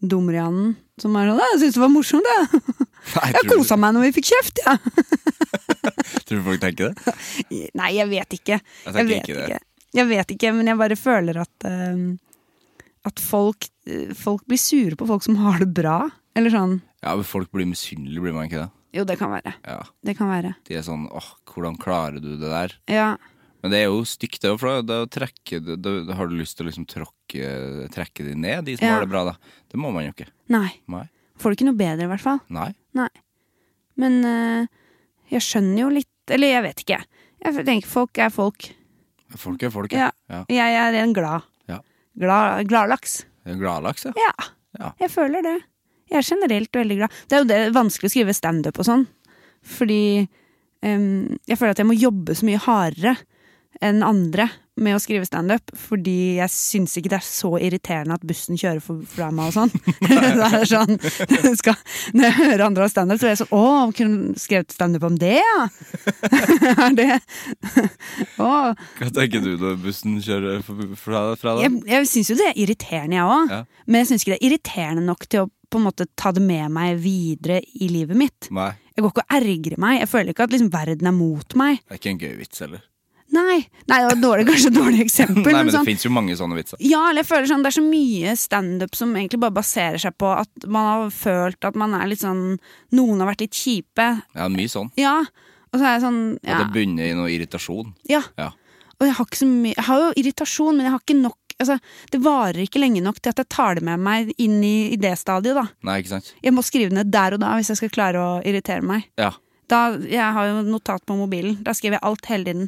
dummere i anden. Som er sånn «Å, Jeg syns det var morsomt, jeg. Nei, Jeg tror, kosa meg når vi fikk kjeft, jeg. Ja. du, tror du folk tenker det? Nei, jeg vet ikke. Jeg Jeg tenker vet ikke det. ikke. Jeg vet ikke, men jeg bare føler at eh, At folk, eh, folk blir sure på folk som har det bra. Eller sånn. Ja, men Folk blir misunnelige, blir man ikke det? Jo, det kan være. Ja. Det kan være. De er sånn åh, hvordan klarer du det der? Ja. Men det er jo stygt, det òg, for da da trekker du- da, da har du lyst til å liksom tråkke, trekke de ned, de som Ja. har det bra, da. Det må man jo ikke. Nei. Nei. Får det ikke noe bedre, i hvert fall. Nei. Nei. Men eh, jeg skjønner jo litt Eller jeg vet ikke. Jeg tenker folk er folk. Folk er folk, Ja. ja. Jeg er en glad. Ja. Glad, gladlaks. Det er Gladlaks, ja. Ja. Ja. Jeg føler det. Jeg er generelt veldig glad. Det er jo det vanskelig å skrive standup og sånn. Fordi em, jeg føler at jeg må jobbe så mye hardere enn andre med å skrive standup. Fordi jeg syns ikke det er så irriterende at bussen kjører for- fra meg og sånn. det er sånn det skal, Når jeg hører andre ha standup, så er jeg sånn Å, kunne du skrevet standup om det, ja? er det Å. Hva tenker du når bussen kjører f- fra deg? Fra deg? Jeg, jeg syns jo det er irriterende, jeg òg. Ja. Men jeg syns ikke det er irriterende nok til å på en måte ta det med meg videre i livet mitt. Nei, Jeg går ikke og ergrer meg. Jeg føler ikke at liksom, verden er mot meg. det er ikke en gøy vits heller. Nei, Nei det var dårlig, kanskje et dårlig eksempel. Nei, men men det sånn, finnes jo mange sånne vitser. ja, eller jeg føler sånn, Det er så mye standup som egentlig bare baserer seg på at man har følt at man er litt sånn Noen har vært litt kjipe. Ja, mye sånn. Ja. Og så er jeg sånn At ja, det bunner i noe irritasjon. ja. Ja. Og jeg har ikke så mye Jeg har jo irritasjon, men jeg har ikke nok Altså, det varer ikke lenge nok til at jeg tar det med meg inn i, i det stadiet, da. Nei, ikke sant? Jeg må skrive ned der og da hvis jeg skal klare å irritere meg. Ja. Da, jeg har jo notat på mobilen. Da skriver jeg alt hele tiden.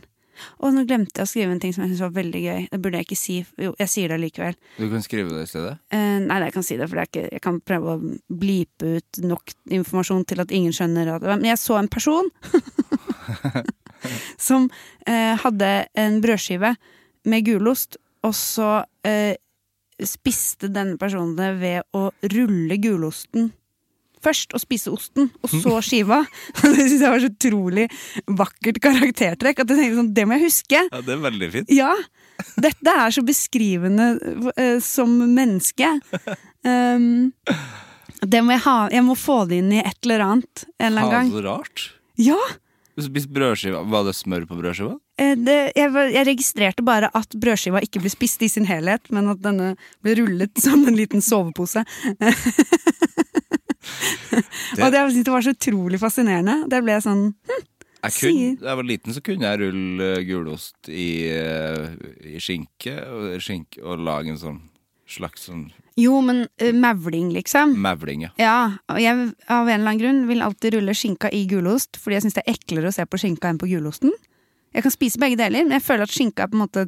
Og nå glemte jeg å skrive en ting som jeg syntes var veldig gøy. Det burde jeg ikke si. Jo, jeg sier det likevel. Du kan skrive det i stedet. Eh, nei, jeg kan si det, for det er ikke, jeg kan prøve å blipe ut nok informasjon til at ingen skjønner at Men jeg så en person som eh, hadde en brødskive med gulost, og så eh, spiste denne personen det ved å rulle gulosten først, og spise osten, og så skiva. det syns jeg var så utrolig vakkert karaktertrekk at jeg tenkte sånn, det må jeg huske. Ja, det er veldig fint. Ja! Dette er så beskrivende eh, som menneske. Um, det må jeg, ha, jeg må få det inn i et eller annet en eller annen Faen, gang. så rart. Ja! Du spiste brødskiva. Var det smør på brødskiva? eh, Det, jeg, var- jeg registrerte bare at brødskiva ikke ble spist i sin helhet, men at denne ble rullet som en liten sovepose. Og det, jeg synes det var så utrolig fascinerende. Det ble jeg sånn hm, Jeg, Sier. kunne, da jeg var liten, så kunne jeg rulle eh, gulost i, eh, i skinke, og, skinke, og lage en sånn slags sånn Jo, men eh, mavling, liksom. mevling, ja. Ja, og jeg av en eller annen grunn vil alltid rulle skinka i gulost, fordi jeg syns det er eklere å se på skinka enn på gulosten. Jeg kan spise begge deler, men jeg føler at skinka er på en måte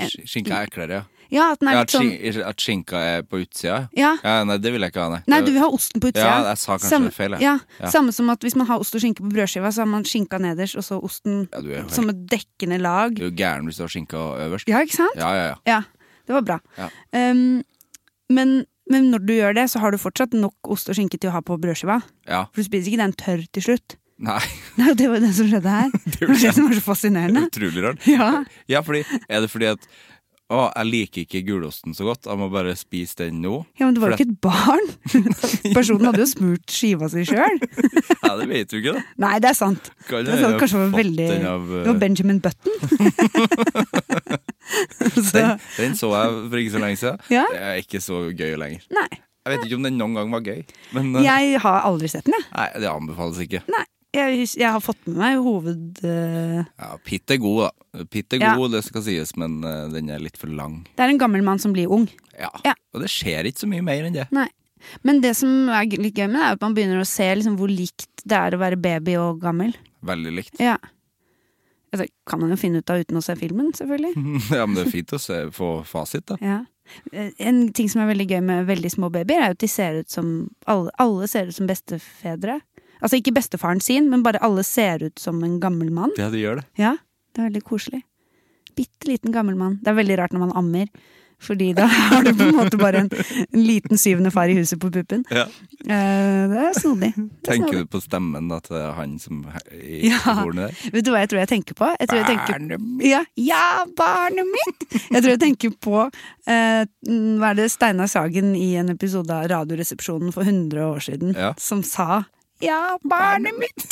Sk- Skinka er eklere, ja. Ja, at den er ja at, litt sånn skin- at skinka er på utsida? Ja. ja. Nei, det vil jeg ikke ha, nei. Nei, du vil ha osten på utsida. Ja, jeg sa kanskje samme, feil, jeg. ja. Ja. Samme som at hvis man har ost og skinke på brødskiva, så har man skinka nederst, og så osten Ja, du er jo helt- som et dekkende lag. Du er jo gæren hvis du har skinka øverst. Ja, ikke sant? Ja, ja, ja. Ja, det var bra. Ja. Um, men, men når du gjør det, så har du fortsatt nok ost og skinke til å ha på brødskiva. ja. For du spiser ikke den tørr til slutt. Nei, Nei, det var jo det som skjedde her. det var det som var så fascinerende. utrolig rart. Ja. Ja, fordi, er det fordi at å, jeg liker ikke gulosten så godt, jeg må bare spise den nå? Ja, men det var jo For ikke et barn! Personen hadde jo smurt skiva si sjøl. Ja, det vet du ikke, da. Nei, det er sant. Kan Det er hende jeg sant. har Kanskje det var fått veldig den av, eh, Det var Benjamin Button. Så, Den, den så jeg for ikke så lenge siden. Ja. Det er ikke så gøy lenger. nei. Jeg Jeg vet ikke om den noen gang var gøy, men eh, Jeg har aldri sett den, jeg. nei, det anbefales ikke. Nei, jeg, hus- jeg har fått med meg hoved... eh, Ja, Pitt er god, da. Pitt er Ja. god, det skal sies, men eh, den er litt for lang. det er en gammel mann som blir ung. Ja. Ja. Og det skjer ikke så mye mer enn det. Nei. Men det som er g- litt gøy med det, er at man begynner å se liksom hvor likt det er å være baby og gammel. Veldig likt. Ja. Altså, kan man jo finne ut av uten å se filmen, selvfølgelig. ja, men det er fint å se, få fasit, da. Ja. Eh, En ting som er veldig gøy med veldig små babyer, er jo at de ser ut som alle, alle ser ut som bestefedre. Altså ikke bestefaren sin, men bare alle ser ut som en gammel mann. Ja, det gjør det. Ja, det er veldig koselig. Bitte liten gammel mann. Det er veldig rart når man ammer, fordi da har du på en måte bare en, en liten syvende far i huset på puppen. Ja. Eh, det er snodig. Det er Tenker snodig. du på stemmen da, til han som he- i Ja. hornet der? Vet du hva jeg tror jeg tenker på? Jeg tror jeg tenker, Barnet mitt. ja, ja, barnet mitt! Jeg tror jeg tenker på eh, mm, Hva er det Steinar Sagen i en episode av Radioresepsjonen for 100 år siden Ja. som sa ja, barnet mitt!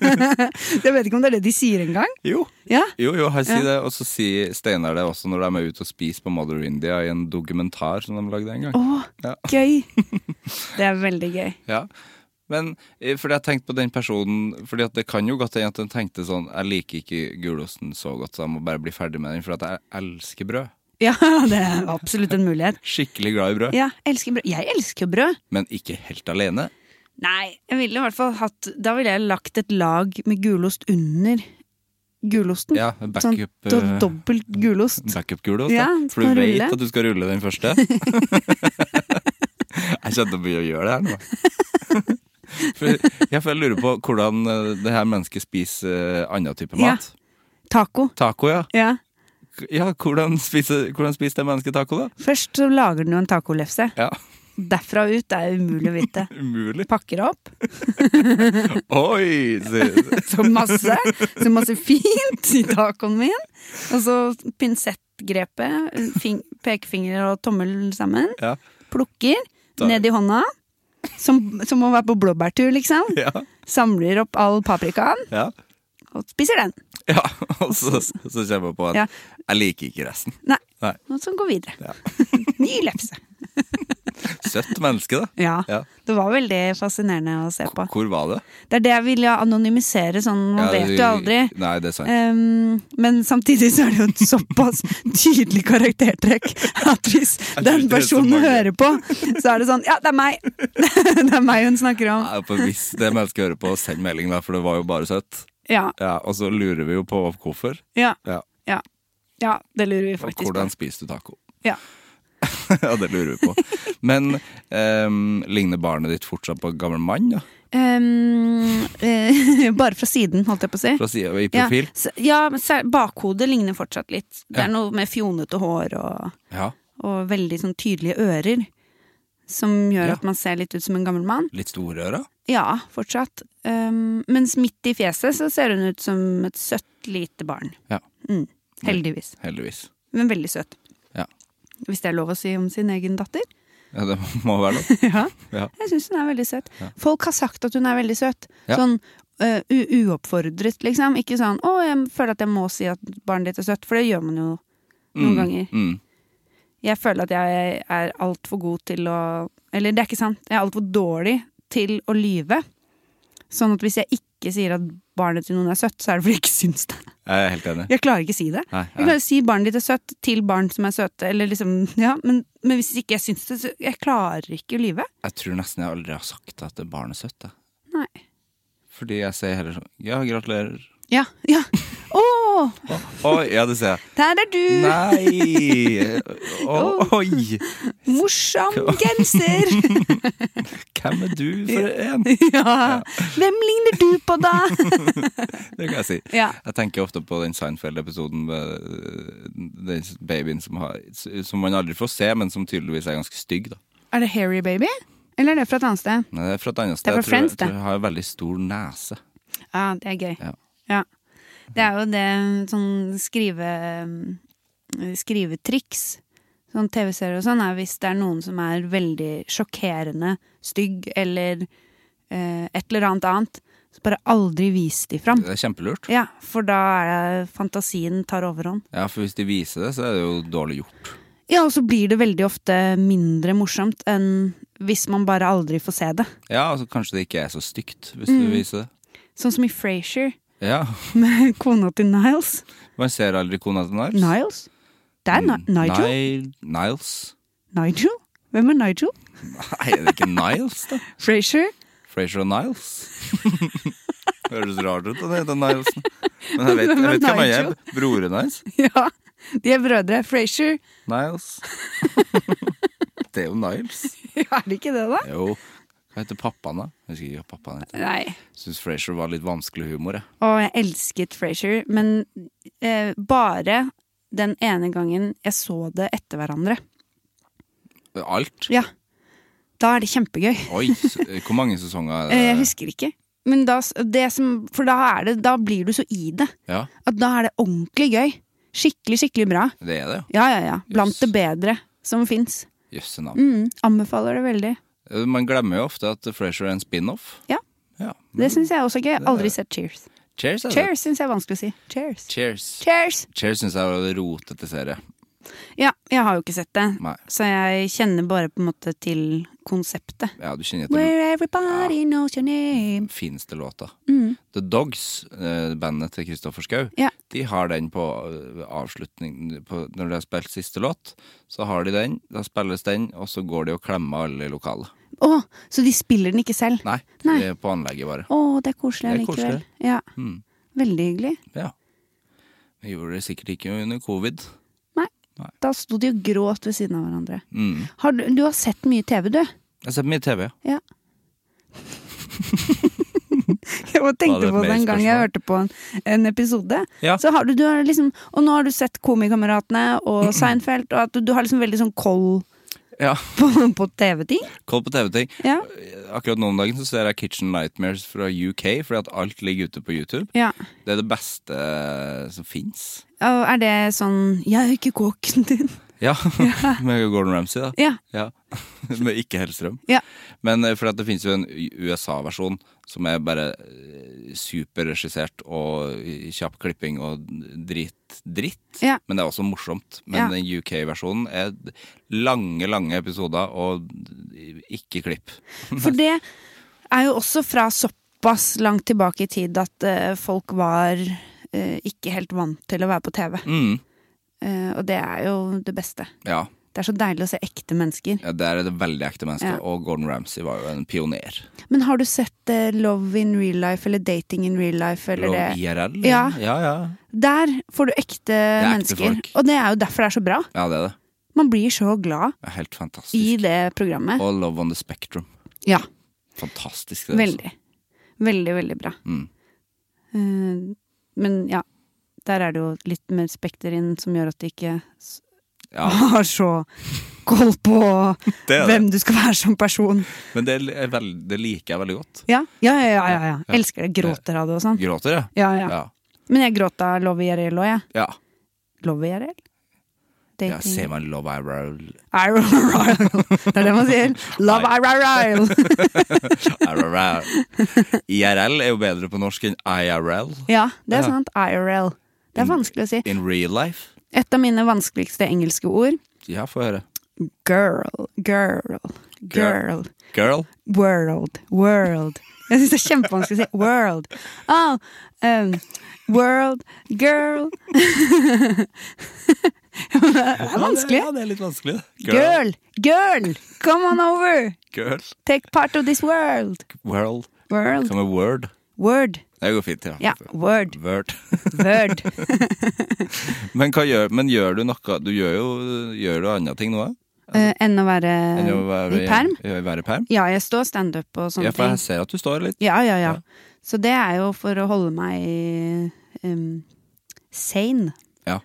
jeg vet ikke om det er det de sier engang. Jo. Ja. Jo, jo, han sier det, og så sier Steinar det også når de er ute og spiser på Mother India i en dokumentar som de lagde en gang. Å, Ja. gøy! Det er veldig gøy. Ja. Men eh, fordi jeg tenkte på den personen Fordi at det kan jo godt hende at hun tenkte sånn Jeg liker ikke gulosten så godt, så jeg må bare bli ferdig med den, for at jeg elsker brød. Ja, det er absolutt en mulighet. Skikkelig glad i brød. Ja, elsker brød. Jeg elsker jo brød. Men ikke helt alene. Nei, jeg ville i hvert fall hatt Da ville jeg lagt et lag med gulost under gulosten. Ja, sånn backup, do eh, dobbelt gulost. backup-gulost. Ja, da. den for du skal vet rulle. at du skal rulle den første. jeg kjenner å begynne å gjøre det her nå. for, ja, for jeg lurer på hvordan eh, det her mennesket spiser eh, annen type Ja. mat. Taco. Taco, ja. Ja. ja hvordan, spiser, hvordan spiser det mennesket taco, da? Først så lager den jo en tacolefse. Ja, Derfra og ut er umulig å vite. Umulig. Pakker opp Oi! sier- så masse, så masse fint i tacoen min. Og så pinsettgrepet, fing, pekefinger og tommel sammen. Ja. Plukker Da- ned i hånda. Som, som å være på blåbærtur, liksom. Ja. Samler opp all paprikaen ja. og spiser den. ja. Og så, så kommer jeg på at Ja. jeg liker ikke resten. Nei. Nei. Og så gå videre. Ja. Ny lefse. Søtt menneske, da. Ja. Ja. Det var veldig fascinerende å se på. Hvor var det? Det er det jeg ville anonymisere, sånn man Ja, vet jo aldri. Nei, det er sant. Ehm, men samtidig så er det jo et såpass tydelig karaktertrekk at hvis tror ikke den det er så personen mange. hører på, så er det sånn Ja, det er meg! Det er meg hun snakker om. Ja, for hvis det mennesket hører på, send melding, da, for det var jo bare søtt. Ja. Ja, og så lurer vi jo på hvorfor. Ja. Ja, Ja, ja det lurer vi og faktisk på. hvordan spiser du taco? Ja. ja, det lurer vi på. Men ehm, ligner barnet ditt fortsatt på en gammel mann? Ja? Ehm, eh, bare fra siden, holdt jeg på å si. Fra sida i profil? Ja, s- ja men sær- bakhodet ligner fortsatt litt. Det Ja. er noe med fjonete hår og, Ja. og veldig sånn tydelige ører. Som gjør Ja. at man ser litt ut som en gammel mann. Litt store ører? Ja, fortsatt. Um, mens midt i fjeset så ser hun ut som et søtt lite barn. Ja, Mm, heldigvis. heldigvis. Men veldig søt. Ja. Hvis det er lov å si om sin egen datter. ja, det må være lov. ja. Ja. Jeg syns hun er veldig søt. Folk har sagt at hun er veldig søt. Ja. Sånn eh, u uoppfordret, liksom. Ikke sånn 'Å, jeg føler at jeg må si at barnet ditt er søtt', for det gjør man jo noen ganger. Mm. Jeg føler at jeg er altfor god til å Eller det er ikke sant. Jeg er altfor dårlig til å lyve. Sånn at hvis jeg ikke sier at barnet til noen er søtt, så er det fordi jeg ikke syns det. Jeg er helt enig. Jeg klarer ikke å si det. Nei, Jeg klarer å si barnet ditt er søtt til barn som er søte, eller liksom Ja, men, men hvis ikke jeg syns det, så Jeg klarer ikke å lyve. Jeg tror nesten jeg aldri har sagt at det barnet er søtt. jeg. Nei. Fordi jeg sier heller sånn Ja, gratulerer. Ja. Ja. Å! Å, å, ja, det ser jeg. Der er du! Nei! Å, oi! Morsom genser! Hvem er du for en? ja. Hvem ligner du på, da? Det kan jeg si. Ja. Jeg tenker ofte på den Seinfeld-episoden med øh, den babyen som, har, som man aldri får se, men som tydeligvis er ganske stygg. da. Er det Hairy Baby? Eller er det fra et annet sted? Nei, det er fra et annet Det sted. er fra Jeg tror- Friends, jeg tror det. jeg har en veldig stor nese. Ja, det er gøy. Ja. Ja. Det er jo det sånn skrive eh, skrivetriks. Sånn TV-serier og sånn er hvis det er noen som er veldig sjokkerende, stygg eller eh, et eller annet annet, så bare aldri vis de fram. Det er kjempelurt. Ja, for da er det fantasien tar overhånd. Ja, For hvis de viser det, så er det jo dårlig gjort. Ja, og så blir det veldig ofte mindre morsomt enn hvis man bare aldri får se det. Ja, altså kanskje det ikke er så stygt, hvis Mm. du viser det. Sånn som i Frasier, Ja, med kona til Niles. man ser aldri kona til Niles. Niles? Det er Ni Nigel. Mm, Ni- Niles? Nigel? Hvem er Nigel? Nei, er det ikke Niles, da? Frasier? Frazier og Niles. Høres rart ut at det heter Niles. Men jeg vet, jeg Hvem er vet hvem han er. Nigel? Broren hans. Ja, de er brødre. Frasier. Niles. Det er jo Niles. Er det ikke det, da? Jo. Hva heter pappaen, da? Jeg husker ikke hva pappaen heter. Nei. Syns Frazier var litt vanskelig humor, jeg. Og jeg elsket Frasier, men eh, bare den ene gangen jeg så det etter hverandre. Alt. Ja. Da er det kjempegøy. Oi, s- hvor mange sesonger Eh, er Jeg det? husker ikke. Men da, s- det som, for da, er det, da blir du så i det. Ja, At da er det ordentlig gøy. Skikkelig, skikkelig bra. det er det, jo. Ja, ja, ja. Blant Yes. det bedre som fins. Jøsse navn. Eh, Mm, anbefaler det veldig. Man glemmer jo ofte at Frazier er en spin-off. Ja. Ja. Mm. Det syns jeg også er gøy. Det er- Aldri sett Cheers. Cheers, er det. Cheers syns jeg er vanskelig å si. Cheers. Cheers. Cheers! Cheers syns jeg var en rotete serie. Ja, jeg har jo ikke sett det, Nei. så jeg kjenner bare på en måte til konseptet. Ja, du kjenner etter Where everybody knows your name. fineste låta. The Dogs, eh, bandet til Kristoffer Schau, Ja. de har den på eh, avslutning på, Når de har spilt siste låt, så har de den, da spilles den, og så går de og klemmer alle i lokalet. Å, så de spiller den ikke selv? Nei, Nei. det er på anlegget bare. Å, det er koselig Det er allikevel. koselig. Ja. Mm. Veldig hyggelig. Ja. Vi gjorde det sikkert ikke under covid. Nei. Nei. Da sto de og gråt ved siden av hverandre. Mm. Har du, du har sett mye TV, du? Jeg har sett mye TV. Ja. Jeg bare tenkte Var det et på det mer en gang jeg spørsmål? hørte på en, en episode. Ja. Så har du, du har liksom, og nå har du sett Komikameratene og Seinfeld, og at du, du har liksom veldig sånn koll Ja, på, på TV-ting. Koll på TV-ting. Ja. Akkurat nå om dagen så ser jeg Kitchen Nightmares fra UK, fordi at alt ligger ute på YouTube. Ja. Det er det beste øh, som fins. Og er det sånn 'Jeg er ikke kåken din'? Ja, med Gordon Ramsay, da. Ja. Ja. med ikke Hellstrøm. Ja. Men eh, for at det finnes jo en U- USA-versjon som er bare eh, superregissert og i- kjapp klipping og drit, dritt. Ja. Men det er også morsomt. Men Ja. den UK-versjonen er d- lange, lange episoder og d- ikke klipp. For det er jo også fra såpass langt tilbake i tid at eh, folk var eh, ikke helt vant til å være på TV. Mm. Eh, og det er jo det beste. Ja. Det er så deilig å se ekte mennesker. ja, der er det veldig ekte mennesker. Ja. Og Gordon Ramsay var jo en pioner. Men har du sett eh, Love in real life eller Dating in real life eller Og det? IRL. Ja. ja, ja. Der får du ekte, ekte mennesker. folk. Og det er jo derfor det er så bra. Ja, det er det. Man blir så glad det er helt fantastisk. i det programmet. Og Love on the Spectrum. Ja, Fantastisk. Det, altså. veldig. Veldig, veldig bra. Mm. Eh, men ja, der er det jo litt mer spekter inn som gjør at det ikke s- Ja. har så koll på Det er det. hvem du skal være som person. Men det, er veld, det liker jeg veldig godt. Ja, ja, ja. ja, ja, ja. Elsker det. Gråter av det og sånn. Gråter, jeg. Ja, ja. Ja. Men jeg gråt av Love IRL òg, jeg. ja. Love IRL? ja ser man Love Irl IRL. Det er det man sier. Love IRL. IRL er jo bedre på norsk enn IRL. Ja, det er Ja. Mm. sant. IRL. Det er vanskelig å si. In real life. Et av mine vanskeligste engelske ord Ja, få høre. girl, girl, girl. Girl. World. World. Jeg syns det er kjempevanskelig å si. World. Oh, um, world. Girl. det er vanskelig. Ja, det er litt vanskelig. Girl. Girl. Come on over. Girl. Take part of this world. World. World. Hva med word? Word. Det går fint, ja. Ja, word. Word. Word. Men, hva gjør, men gjør du noe Du gjør jo gjør du andre ting nå, da? Eh, enn å være Enn å være Eh, i perm? Være i perm? Ja, jeg står standup og sånne Ja, for ting. jeg ser at du står litt. Ja, ja, ja. Så det er jo for å holde meg um, sane. Ja.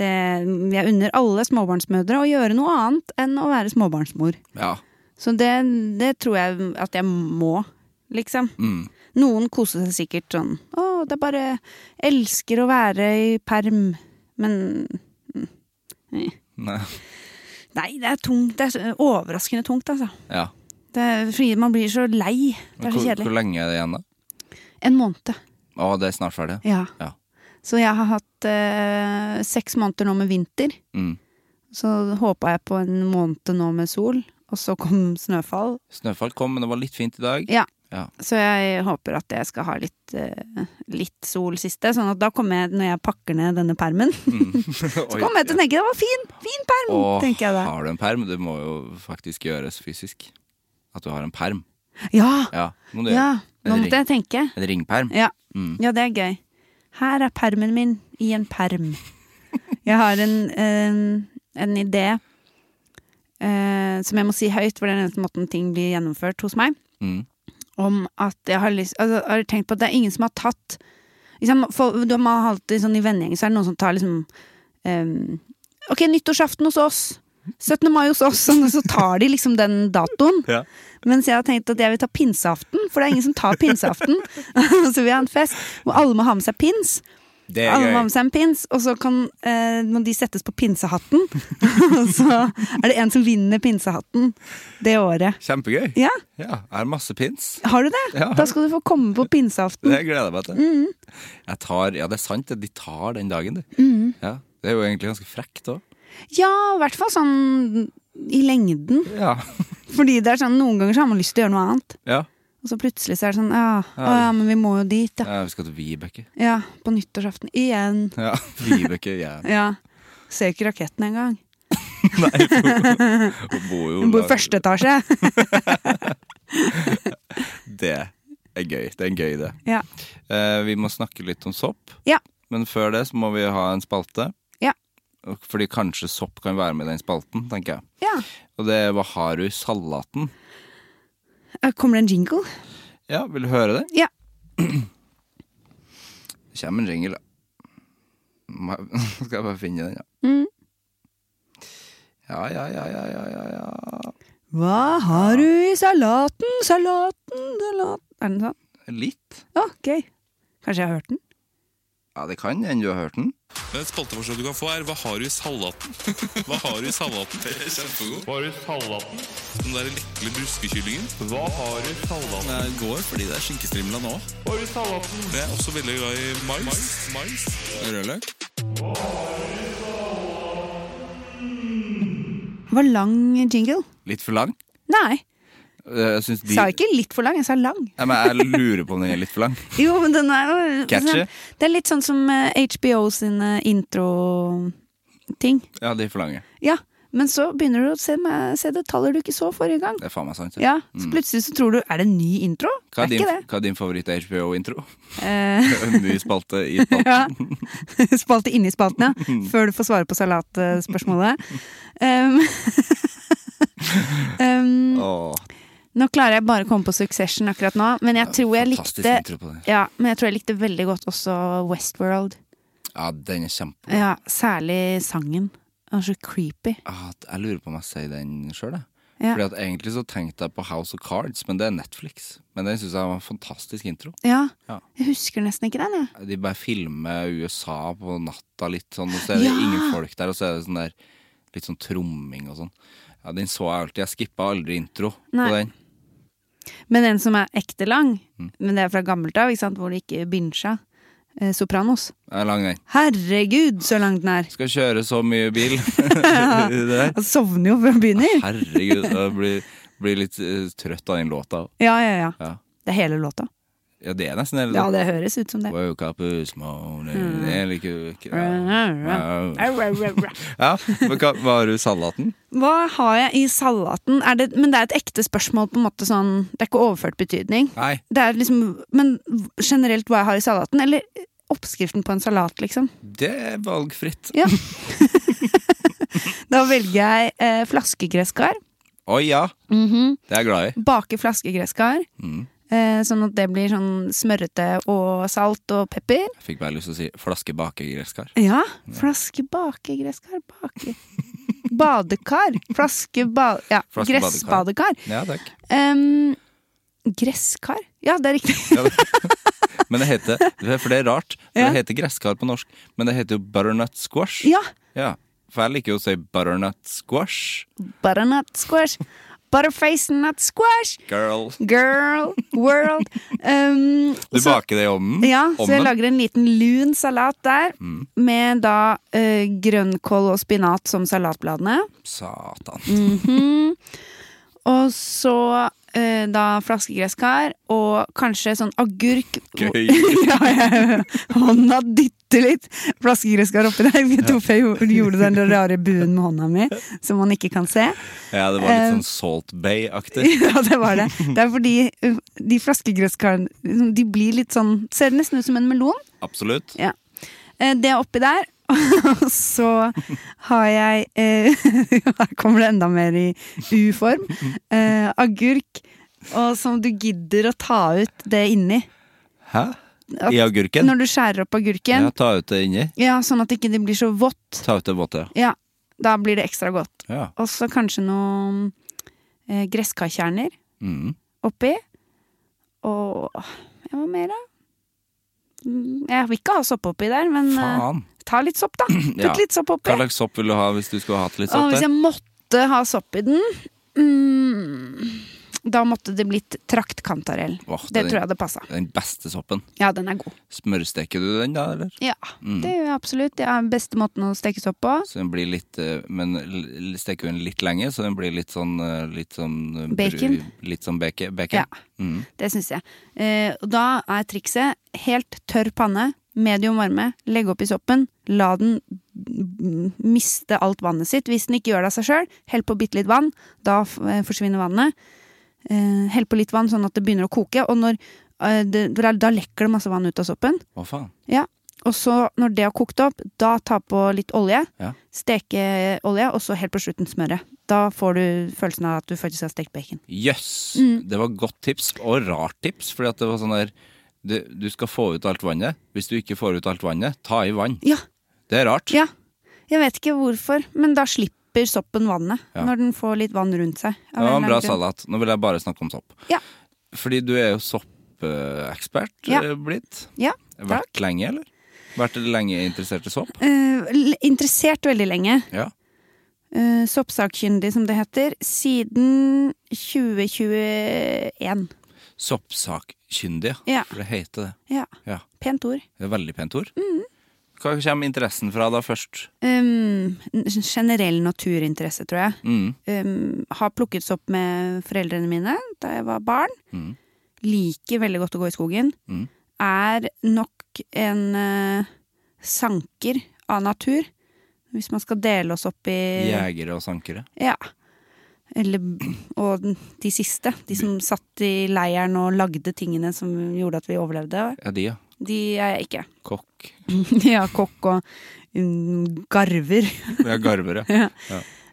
Det, jeg unner alle småbarnsmødre å gjøre noe annet enn å være småbarnsmor. ja. Så det, det tror jeg at jeg må, liksom. Mm. Noen koser seg sikkert sånn Å, det er bare Elsker å være i perm. Men Nei. Nei, det er tungt. Det er overraskende tungt, altså. Ja. Det er, fordi man blir så lei. Det er så Hvor, hvor kjedelig. lenge er det igjen, da? En måned. Å, det er snart ferdig. Ja. Ja. Så jeg har hatt eh, seks måneder nå med vinter. Mm. Så håpa jeg på en måned nå med sol, Og så kom snøfall. Snøfall kom, men det var litt fint i dag. Ja. Ja. Så jeg håper at jeg skal ha litt, eh, litt sol siste. Sånn at da kommer jeg, når jeg pakker ned denne permen, så Oi. kommer jeg til å tenke det var fin, fin perm! Og tenker jeg da. har du en perm, det må jo faktisk gjøres fysisk. At du har en perm. Ja! Ja, må du ja. gjøre. Nå En, måtte ring, jeg tenke. en ringperm. Ja. Mm. ja, det er gøy. Her er permen min i en perm. Jeg har en, en, en idé eh, som jeg må si høyt, for det er den eneste måten ting blir gjennomført hos meg. Mm. om at jeg har lyst altså, Har du tenkt på at det er ingen som har tatt liksom, for, du, Man har alltid sånn i vennegjeng Så er det noen som tar liksom ehm, Ok, nyttårsaften hos oss 17. mai hos oss sånn, og Så tar de liksom den datoen Ja. Mens jeg har tenkt at jeg vil ta pinseaften For det er ingen som tar pinseaften Så vi har en fest hvor alle må ha med seg pins Det er alle må ha gøy. med seg en pins, og så kan, eh, må de settes på pinsehatten. Og så er det en som vinner pinsehatten det året. Kjempegøy. Ja, Ja, jeg har masse pins. har du det? Ja. Da skal du få komme på pinseaften. Det gleder jeg meg til. Mm. Jeg tar, ja, det er sant, det, de tar den dagen, du. Mm. Ja, det er jo egentlig ganske frekt òg. Ja, i hvert fall sånn i lengden. Ja. Fordi det er sånn, noen ganger så har man lyst til å gjøre noe annet. ja. Og så plutselig så er det sånn ja, å, ja men vi må jo dit, ja. Ja, Vi skal til Vibeke. ja på nyttårsaften. Igjen. Ja, Vibeke ja. Ja. Ser ikke raketten engang. Hun bor jo Hun bor i lag- første etasje. Det er gøy. Det er en gøy idé. Ja. Eh, vi må snakke litt om sopp. Ja. Men før det så må vi ha en spalte. Ja. Og- Fordi kanskje sopp kan være med i den spalten, tenker jeg. ja. Og det var Har du salaten? Eh, Kommer det en jingle? Ja, vil du høre den? Ja. Det kommer en jingle, da. Må jeg- Nå skal jeg bare finne den, ja. Mm. Ja, ja, ja, ja, ja, ja, ja. Hva har du i salaten, salaten, salaten Er den sånn? Litt. Å, gøy. Kanskje jeg har hørt den? Ja, det kan hende du har hørt den. Men Et spalteforslag du kan få, er 'Hva har du i salaten?' Hva har du i salaten? Det er kjempegod. Hva har du i salaten? Den der lekle bruskekyllingen. Hva har du i salaten? Jeg går fordi det er skinkestrimla nå. Hva har du i salaten? Jeg er også veldig glad i mais. mais. mais. Rødløk. Det var lang jingle. Litt for lang. Nei, Eh, Jeg syns de sa ikke litt for lang, jeg sa lang. Nei, men jeg lurer på om den er litt for lang. Jo, men den er jo Catchy. sånn- Det er litt sånn som eh, HBO sine intro-ting. Ja, de er for lange. Ja, men så begynner du å se, meg, se detaljer du ikke så forrige gang. Det er faen meg sant. det. Ja, så plutselig så tror du Er det en ny intro? Mm. Hva er, det er din, ikke det. hva er din favoritt-HBO-intro? Eh, En ny spalte i spalten. ja. Spalte inni spalten, ja. Før du får svare på salatspørsmålet. Um, um, Åh, nå klarer jeg bare å komme på Succession akkurat nå, men jeg tror jeg fantastisk likte intro på det. ja, men jeg tror jeg likte veldig godt også Westworld. Ja, den er kjempe... Ja, særlig sangen. Den er så creepy. Ah, jeg lurer på om jeg sier den sjøl, jeg. Ja. Fordi at Egentlig så tenkte jeg på House of Cards, men det er Netflix. Men den syns jeg var en fantastisk intro. Ja. Ja. Jeg husker nesten ikke den, jeg. De bare filmer USA på natta litt sånn, og så er det Ja. ingen folk der, og så er det sånn der litt sånn tromming og sånn. Ja, Den så jeg alltid. Jeg skippa aldri intro på Nei. den. Men en som er ekte lang, Mm. men det er fra gammelt av, ikke sant, hvor det ikke binsja. Eh, Sopranos. Jeg er lang den. Herregud, så lang den er! Skal kjøre så mye bil. det der. Jeg sovner jo før den begynner. Herregud, jeg blir, blir litt eh, trøtt av den låta. Ja, ja, ja. Ja. Det er hele låta. ja, det er nesten hele Ja, det høres ut som det. Woke up this morning Hmm. Jeg liker ikke Au, au, au, au. Ja, men hva var du salaten? Hva har jeg i salaten? Er det, men det er et ekte spørsmål, på en måte sånn Det er ikke overført betydning. Nei. Det er liksom Men generelt hva jeg har i salaten? Eller oppskriften på en salat, liksom? Det er valgfritt. Ja. da velger jeg eh, flaskegresskar. Å ja, Mhm. det er jeg glad i. Bake flaskegresskar. Eh, sånn at det blir sånn smørrete og salt og pepper. Jeg fikk bare lyst til å si flaske bakegresskar. Ja. Flaske bake gresskar. Bake Badekar. Flaske ba... Ja, Flaske gressbadekar. Ja, takk. Em, gresskar? Ja, det er riktig. Ja, det- Men det heter For det er rart. For Ja. Det heter gresskar på norsk, men det heter jo butternut squash. Ja. Ja, For jeg liker jo å si butternut squash. Butternut squash. Butterface nut squash. Girl. Girl. World. Em, Du så- baker det i ovnen? Ja, så jeg Ovnen? lager en liten lun salat der, Mm. med da eh, grønnkål og spinat som salatbladene. Satan. Og så eh, da flaskegresskar og kanskje sånn agurk. Gøy. ja, jeg, hånda dytter litt flaskegresskar oppi der. Jeg vet ikke hvorfor jeg gjorde- gjorde den rare buen med hånda mi, som man ikke kan se. Ja, det var litt Eh, sånn Salt Bay-aktig. ja, det var det. Det er fordi uh, de flaskegresskaren De blir litt sånn Ser nesten ut som en melon. Absolutt. Ja. Eh, Det er oppi der. Og så har jeg eh, Her kommer det enda mer i u-form. Eh, agurk. Og som du gidder å ta ut det inni. Hæ? I agurken? Når du skjærer opp agurken. Ja, ta ut det inni. Ja, Sånn at ikke det ikke blir så vått. Ta ut det våte. Ja, Da blir det ekstra godt. Ja. Og så kanskje noen eh, gresskarkjerner. Mm. oppi. Og ja, hva mer, da? Mm, Jeg vil ikke ha sopp oppi der, men eh, Faen. ta litt sopp, da. Putt Ja. litt sopp oppi. Hva slags sopp vil du ha hvis du skulle hatt litt Og sopp hvis der? jeg måtte ha sopp i den mm, Da måtte det blitt traktkantarell. Åh, det den- tror jeg hadde passa. Den beste soppen. Ja, den er god. Smørsteker du den da, eller? Mm. Ja, Det gjør jeg absolutt. Det er den beste måten å steke sopp på. Så den blir litt eh, Men l- steker du den litt lenge, så den blir litt sånn eh, Litt sånn eh, bru- Bacon. Litt sånn bacon. bacon. Ja, Mm. Det syns jeg. Eh, og da er trikset helt tørr panne, medium varme, legge opp i soppen, la den mm, miste alt vannet sitt. Hvis den ikke gjør det av seg sjøl, hell på bitte litt vann, da f- eh, forsvinner vannet. Eh, hell på litt vann sånn at det begynner å koke, og når, eh, det, for da- da lekker det masse vann ut av soppen. Hva faen? Ja, og så når det har kokt opp, da ta på litt olje, Ja. steke olje, og så helt på slutten smøret. Da får du følelsen av at du faktisk har stekt bacon. Jøss! Mm. Det var godt tips, og rart tips, fordi at det var sånn der du, du skal få ut alt vannet. Hvis du ikke får ut alt vannet, ta i vann. Ja, Det er rart. Ja. Jeg vet ikke hvorfor, men da slipper soppen vannet. Ja. Når den får litt vann rundt seg. Det var en bra salat. Nå vil jeg bare snakke om sopp. Ja. Fordi du er jo soppekspert Ja. eh, blitt. Ja, Vært lenge, eller? Vært lenge interessert i sopp? Eh, l- interessert veldig lenge. Ja. Eh, soppsakkyndig, som det heter. Siden 2021. Soppsakkyndig, Ja. for det heter det. Ja. Ja. Pent ord. Det er veldig pent ord. Mm. Hva kommer interessen fra da først? Um, n- generell naturinteresse, tror jeg. Mm. Um, har plukket sopp med foreldrene mine da jeg var barn. Mm. Liker veldig godt å gå i skogen. Mm. Er nok en eh, sanker av natur. Hvis man skal dele oss opp i Jegere og sankere. Ja. Eller, og den- de siste. De som satt i leiren og lagde tingene som gjorde at vi overlevde. Ja, de, ja. De er jeg ikke. Kokk. De er kokk og mm, garver. Ja, garvere.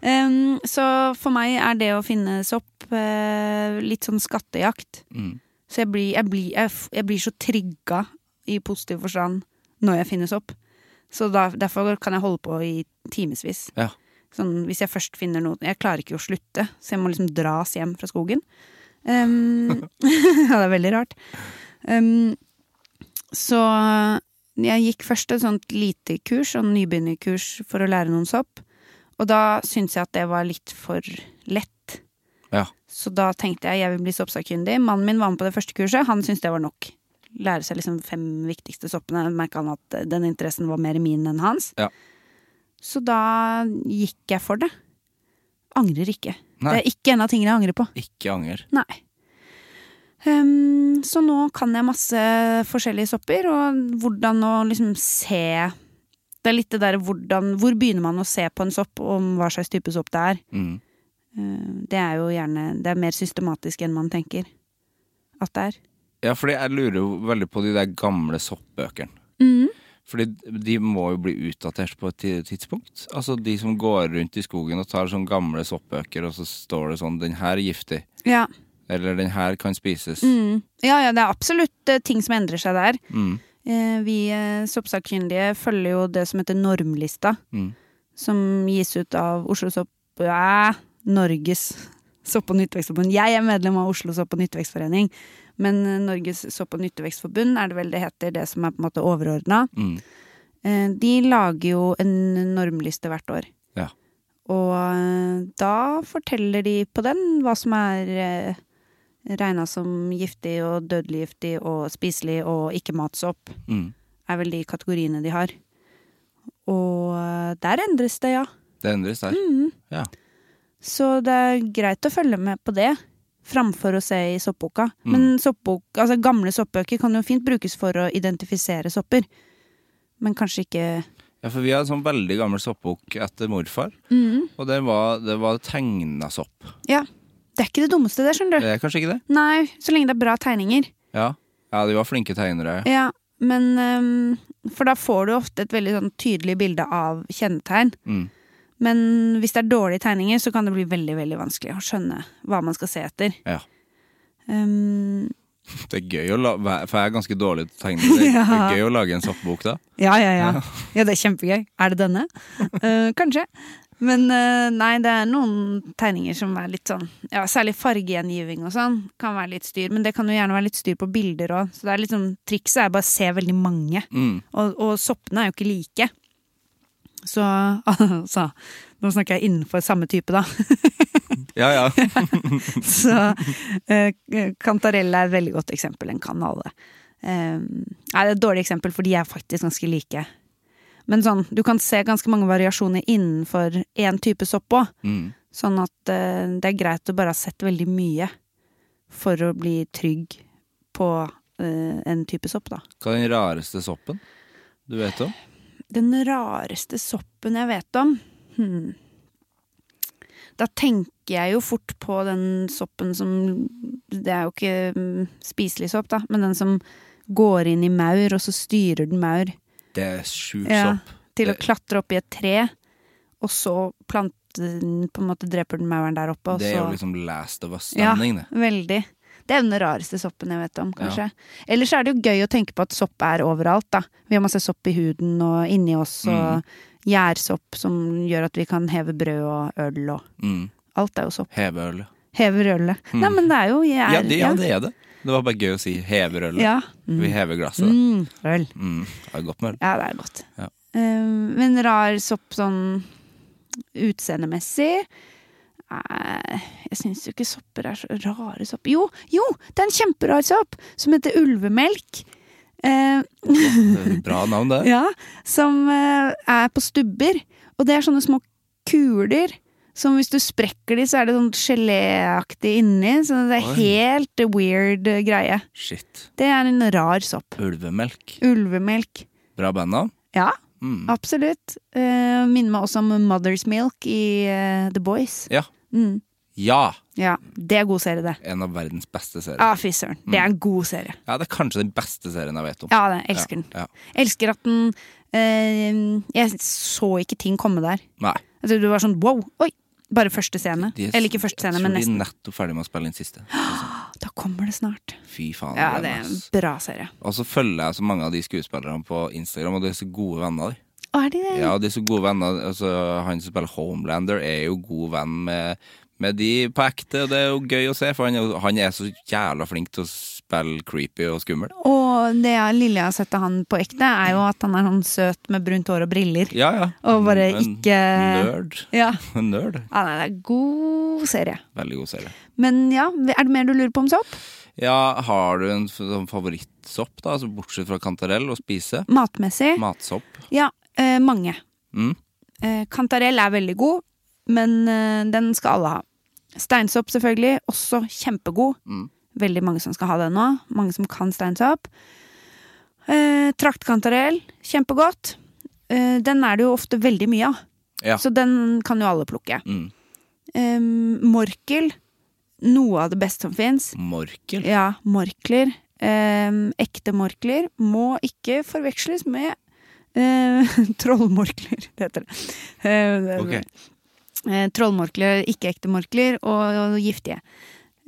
Um, så for meg er det å finne sopp eh, litt sånn skattejakt. Mm. Så jeg blir, jeg, blir, jeg, f- jeg blir så trigga i positiv forstand når jeg finner sopp. Så da, derfor kan jeg holde på i timevis. Ja. Sånn, hvis jeg først finner noe Jeg klarer ikke å slutte, så jeg må liksom dras hjem fra skogen. Um, ja, det er veldig rart. Um, så jeg gikk først et sånt lite kurs, sånn nybegynnerkurs for å lære noen sopp. Og da syntes jeg at det var litt for lett. Ja. Så da tenkte jeg jeg vil bli soppsakkyndig. Mannen min var med på det første kurset, han syntes det var nok. Lære seg liksom fem viktigste soppene. Merka han at den interessen var mer min enn hans. Ja. Så da gikk jeg for det. Angrer ikke. Nei. Det er ikke en av tingene jeg angrer på. Ikke anger. Nei. Ehm, så nå kan jeg masse forskjellige sopper, og hvordan å liksom se Det er litt det derre hvordan Hvor begynner man å se på en sopp, om hva slags type sopp det er? Mm. Ehm, det er jo gjerne Det er mer systematisk enn man tenker at det er. Ja, fordi jeg lurer jo veldig på de der gamle soppbøkene. Mm. Fordi de må jo bli utdatert på et ti- tidspunkt. Altså de som går rundt i skogen og tar sånne gamle soppbøker, og så står det sånn 'Den her er giftig', Ja. eller 'Den her kan spises'. Mm. ja, ja, det er absolutt eh, ting som endrer seg der. Mm. Eh, vi eh, soppsakkyndige følger jo det som heter normlista, Mm. som gis ut av Oslo Sopp... Æ, Norges Sopp- og Nyttevekstforbund. Jeg er medlem av Oslo Sopp- og Nyttevekstforening, men eh, Norges Sopp- og Nyttevekstforbund er det vel det heter, det som er på en måte overordna. Mm. Eh, de lager jo en normliste hvert år. Ja. Og eh, da forteller de på den hva som er eh, regna som giftig og dødelig giftig og spiselig og ikke-matsopp Mm. er vel de kategoriene de har. Og der endres det, ja. Mm. Det endres der. Ja. Så det er greit å følge med på det, framfor å se i soppboka. Men soppbok, altså gamle soppbøker kan jo fint brukes for å identifisere sopper. Men kanskje ikke Ja, for vi har en sånn veldig gammel soppbok etter morfar, Mm. og det var, det var tegna sopp. Ja. Det er ikke det dummeste, det, skjønner du. Det er kanskje ikke det? Nei, så lenge det er bra tegninger. Ja, ja de var flinke tegnere. Ja, men ehm, For da får du ofte et veldig sånn tydelig bilde av kjennetegn. Mm. Men hvis det er dårlige tegninger, så kan det bli veldig veldig vanskelig å skjønne hva man skal se etter. Ja. Ehm, Det er gøy å la, for jeg er ganske dårlig til å tegne. Det Ja. er gøy å lage en soppbok da. ja, ja, ja. Ja, det er kjempegøy. Er det denne? Eh, kanskje. Men eh, nei, det er noen tegninger som er litt sånn ja, Særlig fargegjengiving og sånn kan være litt styr. Men det kan jo gjerne være litt styr på bilder òg. Så det er litt sånn, trikset er bare å se veldig mange. Mm. Og, og soppene er jo ikke like. Så altså Nå snakker jeg innenfor samme type, da. Ja, ja. Så eh, kantarelle er et veldig godt eksempel. En kan alle. Eh, nei, det er et dårlig eksempel, for de er faktisk ganske like. Men sånn, du kan se ganske mange variasjoner innenfor én type sopp òg. Mm. Sånn at eh, det er greit å bare ha sett veldig mye for å bli trygg på eh, en type sopp, da. Hva er den rareste soppen du vet om? Den rareste soppen jeg vet om hmm. Da tenker jeg jo fort på den soppen som Det er jo ikke mm, spiselig sopp, da, men den som går inn i maur, og så styrer den maur Det er sjuk Ja. sopp. til å Det- klatre opp i et tre, og så planter den På en måte dreper den mauren der oppe, og Det er jo så liksom Last of Us-stemning, det. Veldig. Det er jo den rareste soppen jeg vet om, kanskje. Ellers er det jo gøy å tenke på at sopp er overalt, da. Vi har masse sopp i huden og inni oss, Mm. og gjærsopp som gjør at vi kan heve brød og øl og Mm. Alt er jo sopp. Heveølet. Hever ølet. Nei, men det er jo gjær. Ja, det, ja, det er det. Det var bare gøy å si heverølet. Ja. Vi hever glasset. da. Mm, øl. Mm. Det er godt med øl. Ja, det er godt. Ja. Eh, men rar sopp sånn utseendemessig Nei, Jeg syns jo ikke sopper er så rare sopp Jo, jo! Det er en kjemperar sopp som heter ulvemelk. Eh, Det er et Bra navn, det. ja, som eh, er på stubber. Og det er sånne små kuler. Som hvis du sprekker de, så er det sånn geléaktig inni. Så det er Oi. helt weird eh, greie. Shit. Det er en rar sopp. Ulvemelk. Ulvemelk. Bra bandnavn. Ja, Mm. Absolutt. Eh, minner meg også om Mother's Milk i eh, The Boys. Ja. Mm. ja! Ja, det er god serie, det. En av verdens beste serier. Ja, fy søren. Det Mm. er en god serie. Ja, Det er kanskje den beste serien jeg vet om. Ja, det, elsker den. Ja. Elsker at den eh, Jeg så ikke ting komme der. Nei. Jeg trodde det var sånn wow, oi! Bare første scene. De er- Eller ikke første scene, men Jeg tror nesten. de er nettopp ferdig med å spille inn siste. Da kommer det snart. Fy faen. Ja, jeg gleder det er meg, en ass. bra serie. Og så følger jeg så mange av de skuespillerne på Instagram, og de er så gode venner. Å, er det det? Ja, og de er så gode venner altså, Han som spiller Homelander, er jo god venn med, med de på ekte, og det er jo gøy å se, for han, er jo- han er så jævla flink til å spille creepy og skummel. Og det jeg- lille jeg har sett av han på ekte, er jo at han er sånn søt med brunt hår og briller. Ja, ja. Og bare En ikke Nerd. Ja. En nerd. ja, nei, det er god serie. Veldig god serie. Men ja, er det mer du lurer på om sopp? Ja, har du en f- sånn favorittsopp, da? Altså bortsett fra kantarell og spise? Matmessig? Matsopp? ja, eh, mange. Mm. Eh, kantarell er veldig god, men eh, den skal alle ha. Steinsopp selvfølgelig, også kjempegod. Mm. Veldig mange som skal ha den nå. Mange som kan steinsopp. Eh, traktkantarell, kjempegodt. Eh, den er det jo ofte veldig mye av, Ja. så den kan jo alle plukke. Mm. Eh, morkel, noe av det beste som fins. Morkel? Ja, morkler. Em, ekte morkler må ikke forveksles med eh, trollmorkler, det heter det. Eh, det- Ok. eh, trollmorkler, ikke ekte morkler, og, og giftige.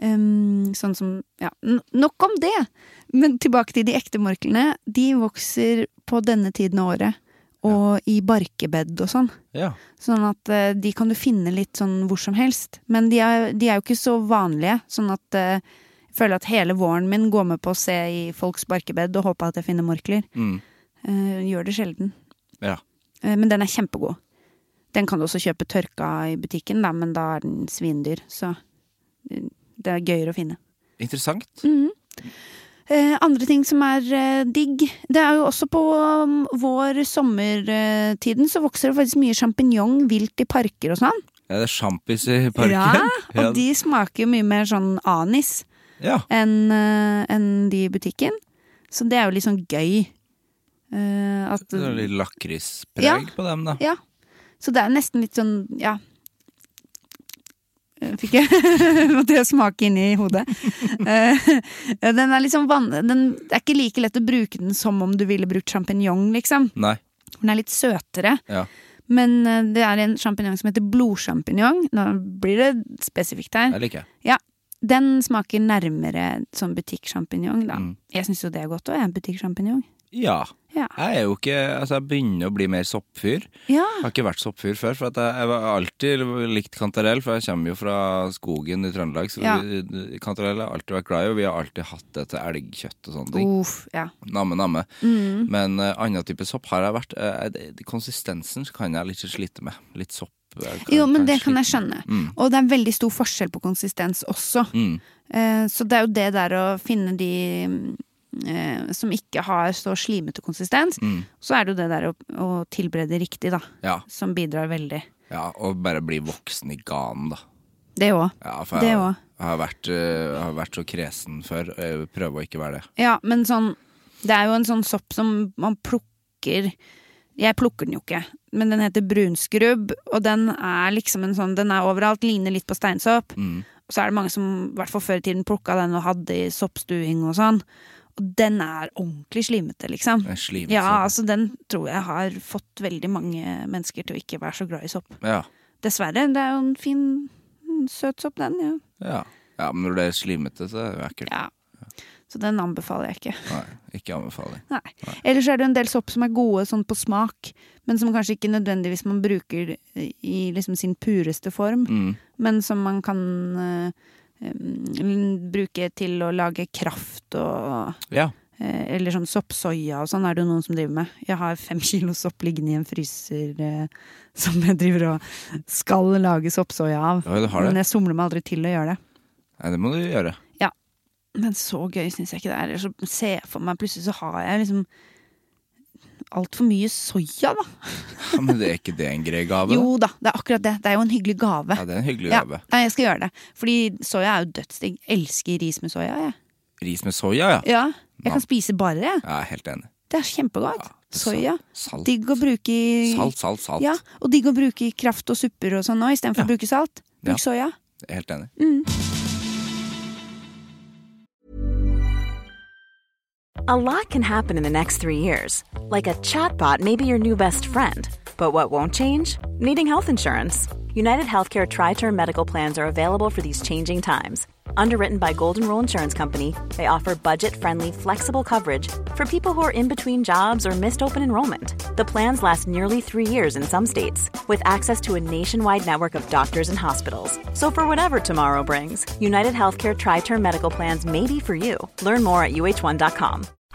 Em, sånn som Ja, n- nok om det! Men tilbake til de ekte morklene. De vokser på denne tiden av året, og i barkebed og sånn. Ja. Sånn at eh, de kan du finne litt sånn hvor som helst. Men de er, de er jo ikke så vanlige. Sånn at eh, jeg føler at hele våren min går med på å se i folks barkebed og håpe at jeg finner morkler. Mm. Eh, gjør det sjelden. ja. Eh, men den er kjempegod. Den kan du også kjøpe tørka i butikken, da, men da er den svindyr. Så eh, det er gøyere å finne. Interessant. Mm. Eh, andre ting som er eh, digg Det er jo også på um, vår sommertiden så vokser det faktisk mye sjampinjong vilt i parker og sånn. Er det sjampis i parken? Ja, Ja. og de smaker jo mye mer sånn anis Ja. enn eh, enn de i butikken. Så det er jo litt sånn gøy. Eh, at, Det er litt lakrispreg Ja. på dem, da. ja. Så det er nesten litt sånn, ja Eh, Fikk jeg Måtte jeg smake inni hodet. Eh, den er liksom van... Den det er ikke like lett å bruke den som om du ville brukt sjampinjong, liksom. Nei. Den er litt søtere. Ja. Men eh, det er en sjampinjong som heter blodsjampinjong. Nå blir det spesifikt her. Jeg liker det. Den smaker nærmere sånn butikksjampinjong, da. Mm. Jeg syns jo det er godt òg, jeg. Butikksjampinjong. Ja. Ja. Jeg er jo ikke Altså, jeg begynner å bli mer soppfyr. ja. Jeg har ikke vært soppfyr før, for at jeg, jeg har alltid likt kantarell, for jeg kommer jo fra skogen i Trøndelag, så Ja. vi- eh, kantarell har jeg alltid vært glad i, og vi har alltid hatt det til elgkjøtt og sånne ting. Uff, ja. Namme, namme. Oh. Mm. Men uh, annen type sopp har jeg vært. eh, det- det- konsistensen kan jeg litt slite med. Litt sopp. jeg Jo, men det slite kan jeg med. skjønne. Mm. Og det er veldig stor forskjell på konsistens også. Mm. Eh, Så det er jo det der å finne de mm, eh, som ikke har så slimete konsistens. Mm. Så er det jo det der å, å tilberede riktig, da. Ja, Som bidrar veldig. ja, og bare bli voksen i ganen, da. Det òg. Ja, for Det jeg, også. jeg, har vært, eh, jeg har vært så kresen før, og jeg prøver å ikke være det. Ja, men sånn Det er jo en sånn sopp som man plukker Jeg plukker den jo ikke, men den heter brunskrubb, og den er liksom en sånn Den er overalt, ligner litt på steinsopp. Mm. Og så er det mange som, i hvert fall før i tiden, plukka den og hadde i soppstuing og sånn. Og den er ordentlig slimete, liksom. En slimete Ja, sopp. altså den tror jeg har fått veldig mange mennesker til å ikke være så glad i sopp. Ja. Dessverre. Det er jo en fin, mm, søt sopp, den. Ja. Ja. ja, men når det er slimete, så er det jo ekkelt. Så den anbefaler jeg ikke. Nei, ikke anbefaling. Nei. Ellers er det jo en del sopp som er gode sånn på smak, men som kanskje ikke nødvendigvis man bruker i liksom sin pureste form, Mm. men som man kan eh, em, bruke til å lage kraft og Ja. eh, Eller sånn soppsoya og sånn er det jo noen som driver med. Jeg har fem kilo sopp liggende i en fryser eh, som jeg driver og skal lage soppsoya av. ja, du har Men det. jeg somler meg aldri til å gjøre det. Nei, det må du gjøre. Men så gøy syns jeg ikke det er. Eller så ser jeg for meg plutselig så har jeg liksom altfor mye soya, da. Ja, men det er ikke det en grei gave? Jo da, det er akkurat det. Det er jo en hyggelig gave. da? Ja, det er en hyggelig Ja, gave. nei, jeg skal gjøre det. Fordi soya er jo dødsdigg. Elsker ris med soya, jeg. Ris med soya, ja. Ja. Jeg Ja. kan spise bare, jeg. Jeg er helt enig. Det er kjempegodt. Soya. Salt, Digg å bruke i salt, salt. salt. Ja, og digg å bruke i kraft og supper og sånn òg, istedenfor å bruke salt. Ja. Bruk soya. Jeg er Helt enig. Mm. A lot can happen in the next three years. Like a chatbot may be your new best friend. But what won't change? Needing health insurance. United Healthcare Tri Term Medical Plans are available for these changing times. Underwritten by Golden Rule Insurance Company, they offer budget friendly, flexible coverage for people who are in between jobs or missed open enrollment. The plans last nearly three years in some states, with access to a nationwide network of doctors and hospitals. So, for whatever tomorrow brings, United Healthcare Tri Term Medical Plans may be for you. Learn more at uh1.com.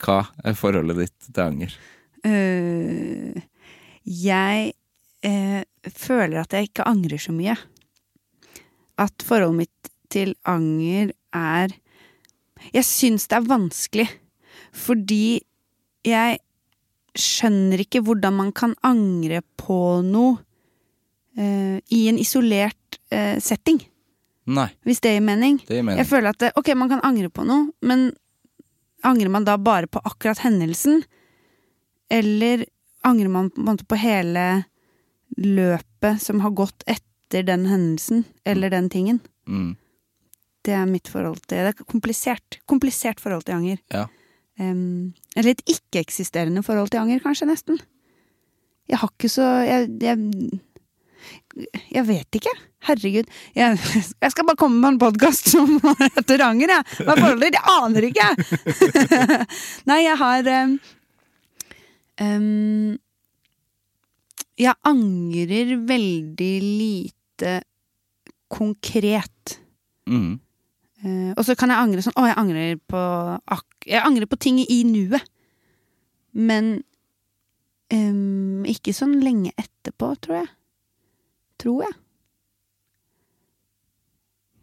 Hva er forholdet ditt til anger? Øh, jeg eh, føler at jeg ikke angrer så mye. At forholdet mitt til anger er Jeg syns det er vanskelig, fordi jeg skjønner ikke hvordan man kan angre på noe eh, i en isolert eh, setting, Nei, hvis det gir mening. det mener Jeg jeg. føler at det, ok, man kan angre på noe, men angrer man da bare på akkurat hendelsen? Eller angrer man på, en måte på hele løpet som har gått etter den hendelsen, eller den tingen? Mm. Det er mitt forhold til Det er komplisert. Komplisert forhold til anger. Ja. Em, eller et ikke-eksisterende forhold til anger, kanskje, nesten. Jeg har ikke så Jeg, jeg, jeg vet ikke. Herregud. Jeg, jeg skal bare komme med en podkast som heter Anger, jeg. Hva er forholdet ditt? Jeg aner ehm, ikke! Nei, jeg har em, em, ehm, Jeg angrer veldig lite konkret. Mm. Eh, og så kan jeg angre sånn Å, jeg angrer på ak Jeg angrer på ting i nuet. Men em, ikke sånn lenge etterpå, tror jeg. Tror jeg.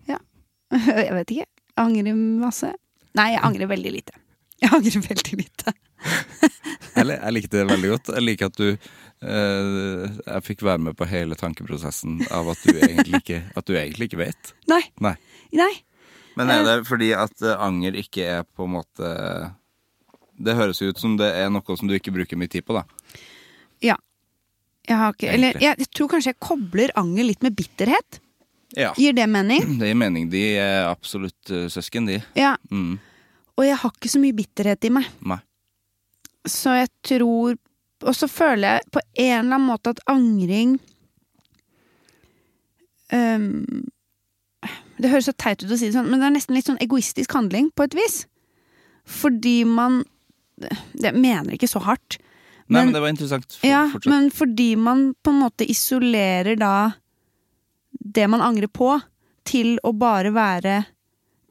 Ja. jeg vet ikke. Jeg angrer masse. Nei, jeg angrer veldig lite. Jeg angrer veldig lite. Jeg, li- jeg likte det veldig godt. Jeg liker at du eh, Jeg fikk være med på hele tankeprosessen av at du egentlig ikke, at du egentlig ikke vet. Nei. Nei. Nei. Men er det fordi at eh, anger ikke er på en måte Det høres jo ut som det er noe som du ikke bruker mye tid på, da. Ja. Jeg har ikke Eller Egentlig. jeg, jeg tror kanskje jeg kobler anger litt med bitterhet. Ja. Gir det mening? Det gir mening. De er absolutt eh, søsken, de. Ja. Mm. Og jeg har ikke så mye bitterhet i meg. Nei. Så jeg tror Og så føler jeg på en eller annen måte at angring øhm, ehm, Det høres så teit ut å si det sånn, men det er nesten litt sånn egoistisk handling, på et vis. Fordi man Jeg mener ikke så hardt. Nei, Men- men det var interessant. For, Ja, fortsett. men fordi man på en måte isolerer da det man angrer på, til å bare være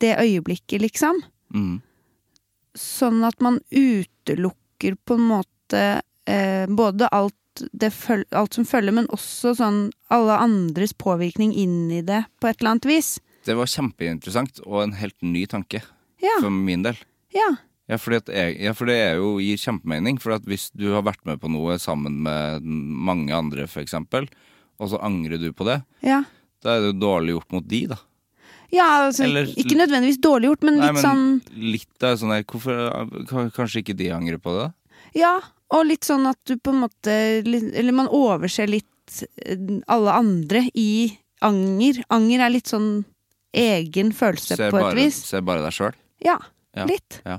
det øyeblikket, liksom. Mm. Sånn at man utelukker på en måte eh, både alt, det føl alt som følger, men også sånn alle andres påvirkning inn i det på et eller annet vis. Det var kjempeinteressant, og en helt ny tanke Ja. for min del. Ja. Ja, fordi at jeg, ja, for det er jo, gir kjempemening. For at hvis du har vært med på noe sammen med mange andre, f.eks., og så angrer du på det, Ja. da er det jo dårlig gjort mot de, da. ja altså, Eller- ikke nødvendigvis dårlig gjort, men Nei, litt men sånn litt av sånn der Hvorfor k- kanskje ikke de angrer på det? Ja, og litt sånn at du på en måte Eller man overser litt eh, alle andre i anger. Anger er litt sånn egen følelse Se på bare, et vis. se bare deg sjøl. Ja, Ja, litt. ja.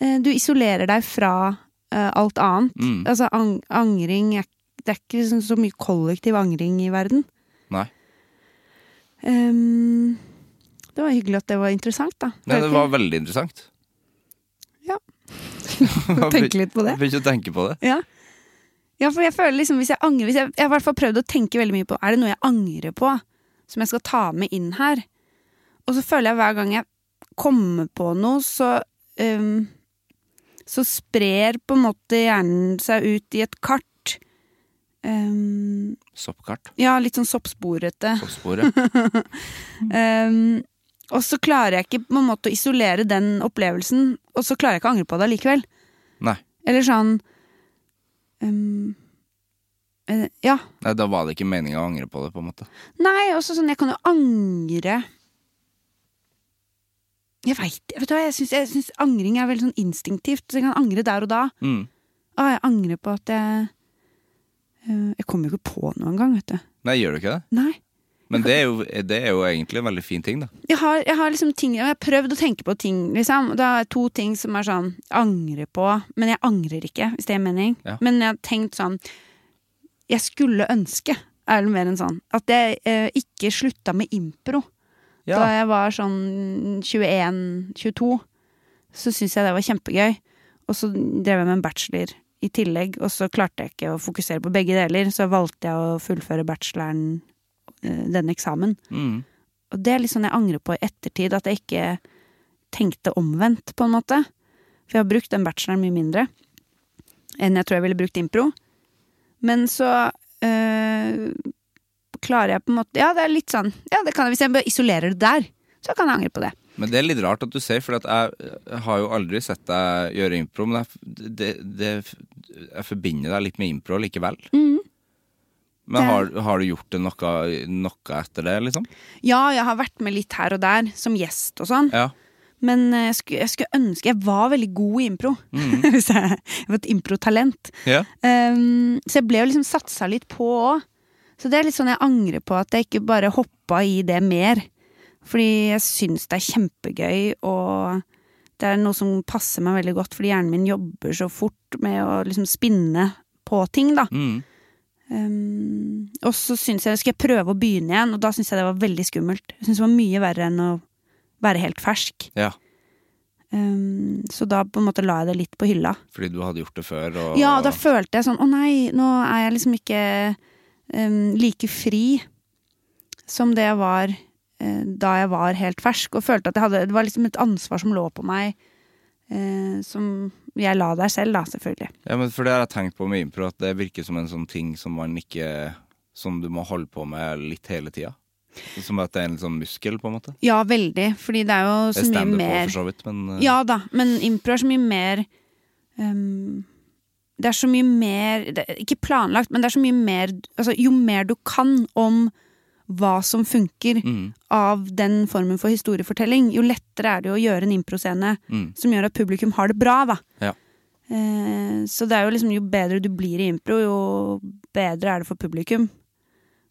Eh, Du isolerer deg fra eh, alt annet. Mm. Altså ang angring er, Det er ikke sånn så mye kollektiv angring i verden. Nei. Ehm, det var hyggelig at det var interessant, da. Nei, det Føler var ikke- veldig interessant. Ja. Tenk Tenke litt på det. Begynte å tenke på det. Ja. ja, for jeg føler liksom hvis jeg angrer hvis jeg, jeg har i hvert fall prøvd å tenke veldig mye på Er det noe jeg angrer på som jeg skal ta med inn her. Og så føler jeg hver gang jeg kommer på noe, så um, Så sprer på en måte hjernen seg ut i et kart. Um, Soppkart. ja, litt sånn soppsporete. Soppsporet. Um, og så klarer jeg ikke på en måte å isolere den opplevelsen, og så klarer jeg ikke å angre på det allikevel. Nei. Eller sånn um, eh, Ja. Nei, da var det ikke meninga å angre på det, på en måte. Nei, også sånn Jeg kan jo angre Jeg veit Vet du hva, jeg syns, jeg syns angring er veldig sånn instinktivt. Så jeg kan angre der og da. Mm. Å, jeg angrer på at jeg eh, Jeg kommer jo ikke på noe engang, vet du. Nei, gjør du ikke det? Nei. Men det er, jo, det er jo egentlig en veldig fin ting, da. Jeg har, jeg har liksom ting Jeg har prøvd å tenke på ting, liksom. Det er to ting som er sånn jeg Angrer på, men jeg angrer ikke, hvis det gir mening. Ja. Men jeg har tenkt sånn Jeg skulle ønske, er det mer enn sånn, at jeg eh, ikke slutta med impro. Da jeg var sånn 21-22, så syntes jeg det var kjempegøy. Og så drev jeg med en bachelor i tillegg, og så klarte jeg ikke å fokusere på begge deler. Så valgte jeg å fullføre bacheloren, eh, denne eksamen. Mm. Og det er litt sånn jeg angrer på i ettertid, at jeg ikke tenkte omvendt, på en måte. For jeg har brukt den bacheloren mye mindre enn jeg tror jeg ville brukt impro. Men så øh, klarer jeg på en måte Ja, det er litt sånn ja, det kan jeg, Hvis jeg bare isolerer det der, så kan jeg angre på det. Men det er litt rart at du sier, for at jeg jeg har jo aldri sett deg gjøre impro, men jeg, det, det, jeg forbinder deg litt med impro likevel. Men Mm. Det- har, har du gjort det noe, noe etter det, liksom? Ja, jeg har vært med litt her og der, som gjest og sånn. Ja. Men øh, jeg skulle, jeg skulle ønske Jeg var veldig god i impro. Hvis jeg, jeg var et improtalent. ja. Um, så jeg ble jo liksom satsa litt på òg. Så det er litt sånn jeg angrer på at jeg ikke bare hoppa i det mer. Fordi jeg syns det er kjempegøy, og det er noe som passer meg veldig godt, fordi hjernen min jobber så fort med å liksom spinne på ting, da. Mm. Um, og så syns jeg skal jeg prøve å begynne igjen, og da syns jeg det var veldig skummelt. Jeg syns det var mye verre enn å være helt fersk. ja. Um, så da på en måte la jeg det litt på hylla. Fordi du hadde gjort det før? Og, Ja, da følte jeg sånn Å nei, nå er jeg liksom ikke em, like fri som det jeg var eh, da jeg var helt fersk. Og følte at jeg hadde Det var liksom et ansvar som lå på meg, eh, som jeg la der selv, da, selvfølgelig. Ja, men for det har jeg tenkt på med impro, at det virker som en sånn ting som man ikke Som du må holde på med litt hele tida. Som at det er en sånn muskel, på en måte. Ja, veldig. Fordi det er jo Det så mye standup òg, mer for så vidt, men eh, Ja da, men impro er så mye mer ehm, Det er så mye mer det, er Ikke planlagt, men det er så mye mer altså, Jo mer du kan om hva som funker Mm. av den formen for historiefortelling, jo lettere er det å gjøre en improscene Mm. som gjør at publikum har det bra, da. Ja. Eh, så det er jo liksom jo bedre du blir i impro, jo bedre er det for publikum.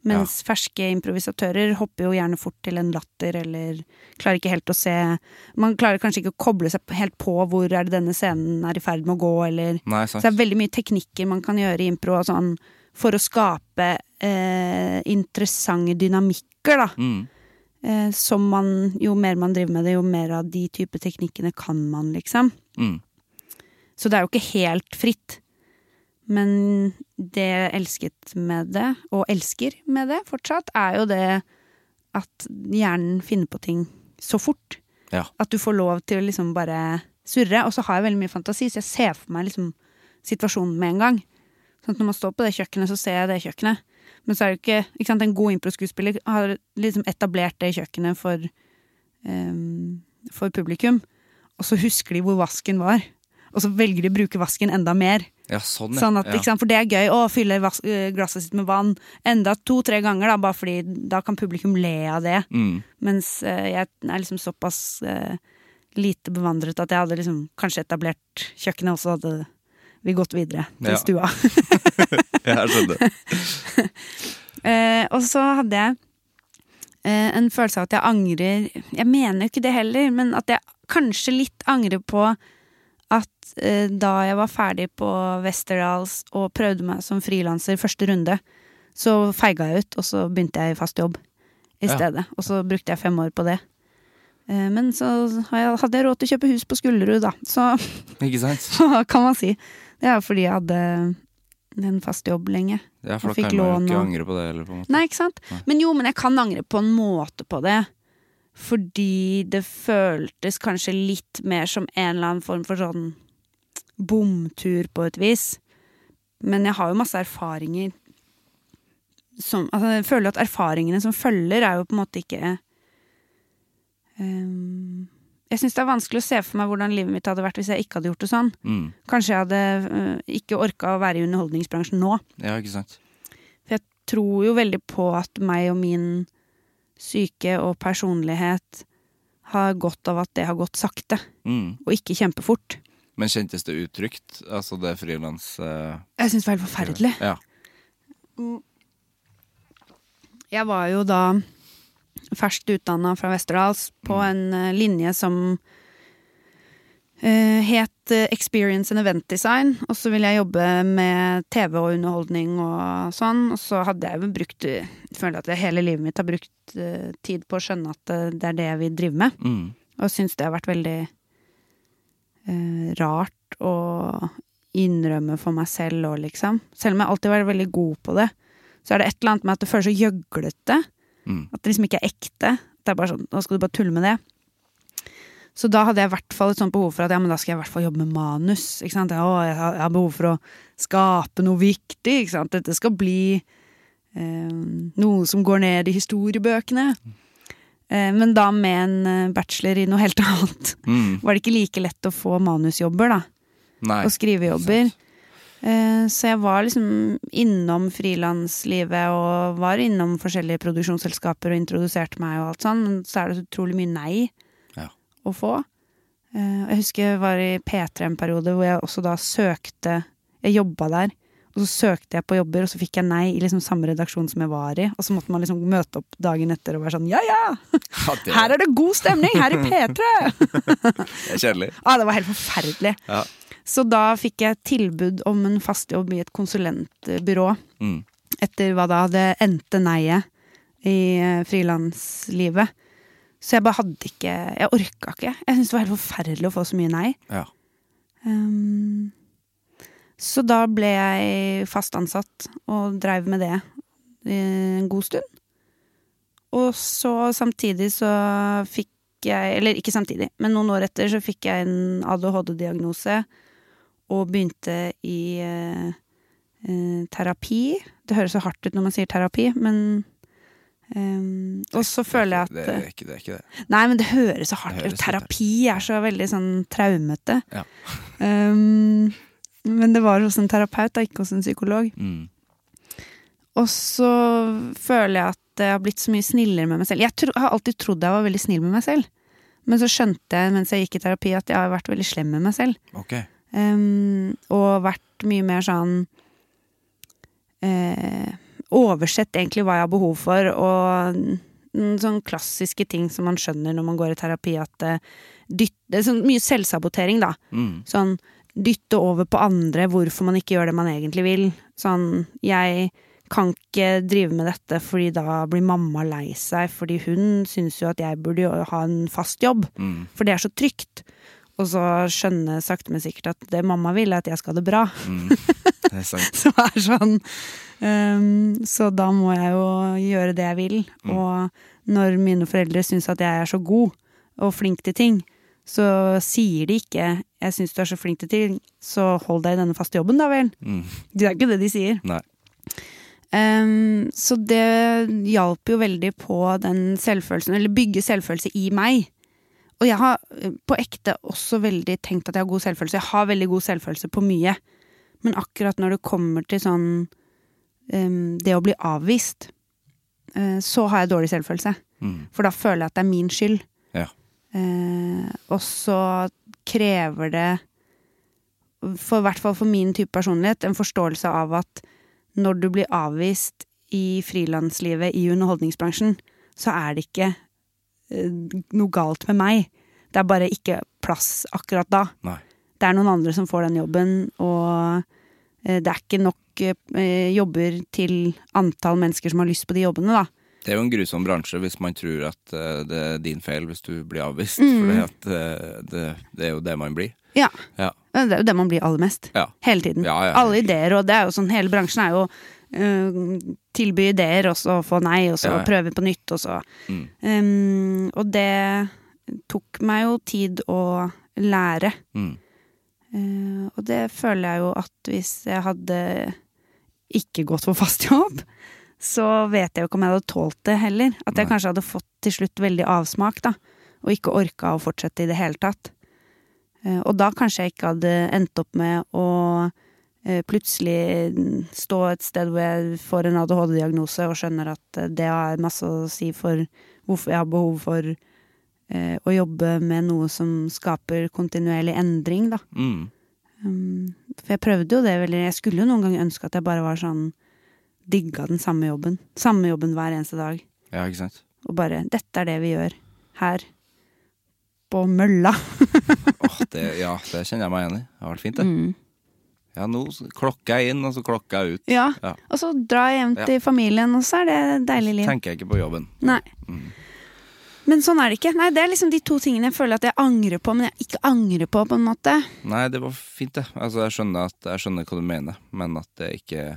Mens ferske improvisatører hopper jo gjerne fort til en latter, eller klarer ikke helt å se Man klarer kanskje ikke å koble seg helt på hvor er det denne scenen er i ferd med å gå, eller Nei, Så Mm, sant. det er veldig mye teknikker man kan gjøre i impro og sånn, for å skape eh, interessante dynamikker, da. Mm. Eh, som man Jo mer man driver med det, jo mer av de type teknikkene kan man, liksom. Mm. Så det er jo ikke helt fritt. Men det jeg elsket med det, og elsker med det fortsatt, er jo det at hjernen finner på ting så fort. Ja. At du får lov til å liksom bare surre. Og så har jeg veldig mye fantasi, så jeg ser for meg liksom situasjonen med en gang. Sånn at når man står på det kjøkkenet, så ser jeg det kjøkkenet. Men så er det jo ikke, ikke sant, en god improskuespiller har liksom etablert det kjøkkenet for, ehm, for publikum. Og så husker de hvor vasken var. Og så velger de å bruke vasken enda mer. Ja, sånn, ja. Sånn at, ja. ikke sant? For det er gøy å fylle vas øh, glasset sitt med vann enda to-tre ganger, da, bare fordi da kan publikum le av det. Mm. Mens øh, jeg er liksom såpass øh, lite bevandret at jeg hadde liksom kanskje etablert kjøkkenet, og så hadde vi gått videre til Ja. stua. Ja, jeg skjønner. Eh, og så hadde jeg eh, en følelse av at jeg angrer Jeg mener jo ikke det heller, men at jeg kanskje litt angrer på at eh, da jeg var ferdig på Westerdals og prøvde meg som frilanser første runde, så feiga jeg ut, og så begynte jeg i fast jobb i Ja. stedet. Og så brukte jeg fem år på det. Eh, men så har jeg- hadde jeg råd til å kjøpe hus på Skullerud, da. Så Ikke sant? hva kan man si? Det er jo fordi jeg hadde en fast jobb lenge. Ja, for Jeg da fikk kan man jo lån ikke og- angre på det. Eller, på en måte. Nei, ikke sant? Nei. Men jo, men jeg kan angre på en måte på det. Fordi det føltes kanskje litt mer som en eller annen form for sånn bomtur på et vis. Men jeg har jo masse erfaringer som altså Jeg føler at erfaringene som følger, er jo på en måte ikke ehm, Jeg syns det er vanskelig å se for meg hvordan livet mitt hadde vært hvis jeg ikke hadde gjort det sånn. Mm. Kanskje jeg hadde øh, ikke orka å være i underholdningsbransjen nå. Ja, ikke sant? For jeg tror jo veldig på at meg og min syke og personlighet har godt av at det har gått sakte, Mm. og ikke kjempefort. Men kjentes det utrygt? Altså det frilans... eh, Jeg syns det var helt forferdelig. Ja. Jeg var jo da ferskt utdanna fra Westerdals på en eh, linje som eh, het eh, Experience and Event Design, og så ville jeg jobbe med TV og underholdning og sånn, og så hadde jeg jo brukt Jeg føler at jeg hele livet mitt har brukt eh, tid på å skjønne at eh, det er det jeg vil drive med. Mm. Og syns det har vært veldig eh, rart å innrømme for meg selv òg, liksom. Selv om jeg alltid har vært veldig god på det, så er det et eller annet med at det føles så gjøglete. Mm. At det liksom ikke er ekte. Det er bare sånn, nå skal du bare tulle med det. Så da hadde jeg i hvert fall et sånt behov for at ja, men da skal jeg i hvert fall jobbe med manus. Ikke sant? Å, jeg, har, jeg har behov for å skape noe viktig. Ikke sant? Dette skal bli eh, noe som går ned i historiebøkene. Eh, men da med en eh, bachelor i noe helt annet. Mm. Var det ikke like lett å få manusjobber, da Nei. og skrivejobber. sant. Eh, Så jeg var liksom innom frilanslivet og var innom forskjellige produksjonsselskaper og introduserte meg og alt sånn, men så er det så utrolig mye nei Ja. å få. Eh, Jeg husker jeg var i P3 en periode hvor jeg også da søkte Jeg jobba der, og så søkte jeg på jobber, og så fikk jeg nei i liksom samme redaksjon som jeg var i, og så måtte man liksom møte opp dagen etter og være sånn ja ja, Ja, det her er det god stemning, her i P3! er kjedelig. Ah, det var helt forferdelig. Ja. Så da fikk jeg tilbud om en fast jobb i et konsulentbyrå. Mm. Etter hva da det endte neiet i eh, frilanslivet. Så jeg bare hadde ikke Jeg orka ikke. Jeg syntes det var helt forferdelig å få så mye nei. Ja. Ehm, så da ble jeg fast ansatt og dreiv med det i en god stund. Og så samtidig så fikk jeg Eller ikke samtidig, men noen år etter så fikk jeg en ADHD-diagnose og begynte i eh, eh, terapi. Det høres så hardt ut når man sier terapi, men ehm, Og så føler jeg at det, det, er ikke, det er ikke det. Nei, men det høres så hardt Det høres ut. litt Terapi er så veldig sånn traumete. Ja. Um, men det var hos en terapeut, da, ikke hos en psykolog. Mm. Og så føler jeg at jeg har blitt så mye snillere med meg selv. Jeg tro, har alltid trodd jeg var veldig snill med meg selv, men så skjønte jeg mens jeg gikk i terapi at jeg har vært veldig slem med meg selv. Ok. Um, og vært mye mer sånn eh, Oversett egentlig hva jeg har behov for, og mm, sånn klassiske ting som man skjønner når man går i terapi, at eh, dytt, det er sånn mye selvsabotering, da. Mm. Sånn dytte over på andre hvorfor man ikke gjør det man egentlig vil. Sånn jeg kan ikke drive med dette fordi da blir mamma lei seg fordi hun syns jo at jeg burde jo ha en fast jobb, Mm. for det er så trygt. Og så skjønne sakte, men sikkert at det mamma vil, er at jeg skal ha det bra. Mm. Det er sant. Som er sånn ehm, Så da må jeg jo gjøre det jeg vil. Og når mine foreldre syns at jeg er så god og flink til ting, så sier de ikke 'jeg syns du er så flink til ting, så hold deg i denne faste jobben', da vel. Mm. Det er ikke det de sier. Nei. Ehm, så det hjalp jo veldig på den selvfølelsen, eller bygge selvfølelse i meg. Og jeg har eh, på ekte også veldig tenkt at jeg har god selvfølelse. Jeg har veldig god selvfølelse på mye. Men akkurat når det kommer til sånn ehm, det å bli avvist, eh, så har jeg dårlig selvfølelse. Mm. For da føler jeg at det er min skyld. Ja. Eh, og så krever det, for, i hvert fall for min type personlighet, en forståelse av at når du blir avvist i frilanslivet, i underholdningsbransjen, så er det ikke eh, noe galt med meg. Det er bare ikke plass akkurat da. Nei. Det er noen andre som får den jobben, og eh, det er ikke nok eh, jobber til antall mennesker som har lyst på de jobbene, da. Det er jo en grusom bransje hvis man tror at eh, det er din feil hvis du blir avvist. Mm. For det, det er jo det man blir. Ja. Ja. Det er jo det man blir aller mest. Ja. Hele tiden. Ja, ja, Alle ideer, og det er jo sånn hele bransjen er jo øh, tilby ideer, og så få nei, og så Ja, ja. prøve på nytt, og så Mm. Ehm, Og det tok meg jo tid å lære. Mm. Eh, og det føler jeg jo at hvis jeg hadde ikke gått for fast jobb, så vet jeg jo ikke om jeg hadde tålt det heller. At jeg Nei. kanskje hadde fått til slutt veldig avsmak, da. Og ikke orka å fortsette i det hele tatt. Eh, og da kanskje jeg ikke hadde endt opp med å eh, plutselig stå et sted hvor jeg får en ADHD-diagnose og skjønner at eh, det har masse å si for hvorfor jeg har behov for eh, å jobbe med noe som skaper kontinuerlig endring, da. Mm. Um, for jeg prøvde jo det veldig. Jeg skulle jo noen ganger ønske at jeg bare var sånn Digga den samme jobben. Samme jobben hver eneste dag. Ja, ikke sant. Og bare 'Dette er det vi gjør her. På mølla'. Åh, det, ja, det kjenner jeg meg igjen i. Det har vært fint, det. Mm. Ja, nå s- klokker jeg inn, og så klokker jeg ut. Ja. Ja. Og så dra hjem til familien, og så er det deilig liv. Tenker jeg ikke på jobben. Nei. Men sånn er det ikke. Nei, Det er liksom de to tingene jeg føler at jeg angrer på, men jeg ikke angrer på, på en måte. Nei, det var fint, det. Altså, jeg skjønner, at, jeg skjønner hva du mener, men at det ikke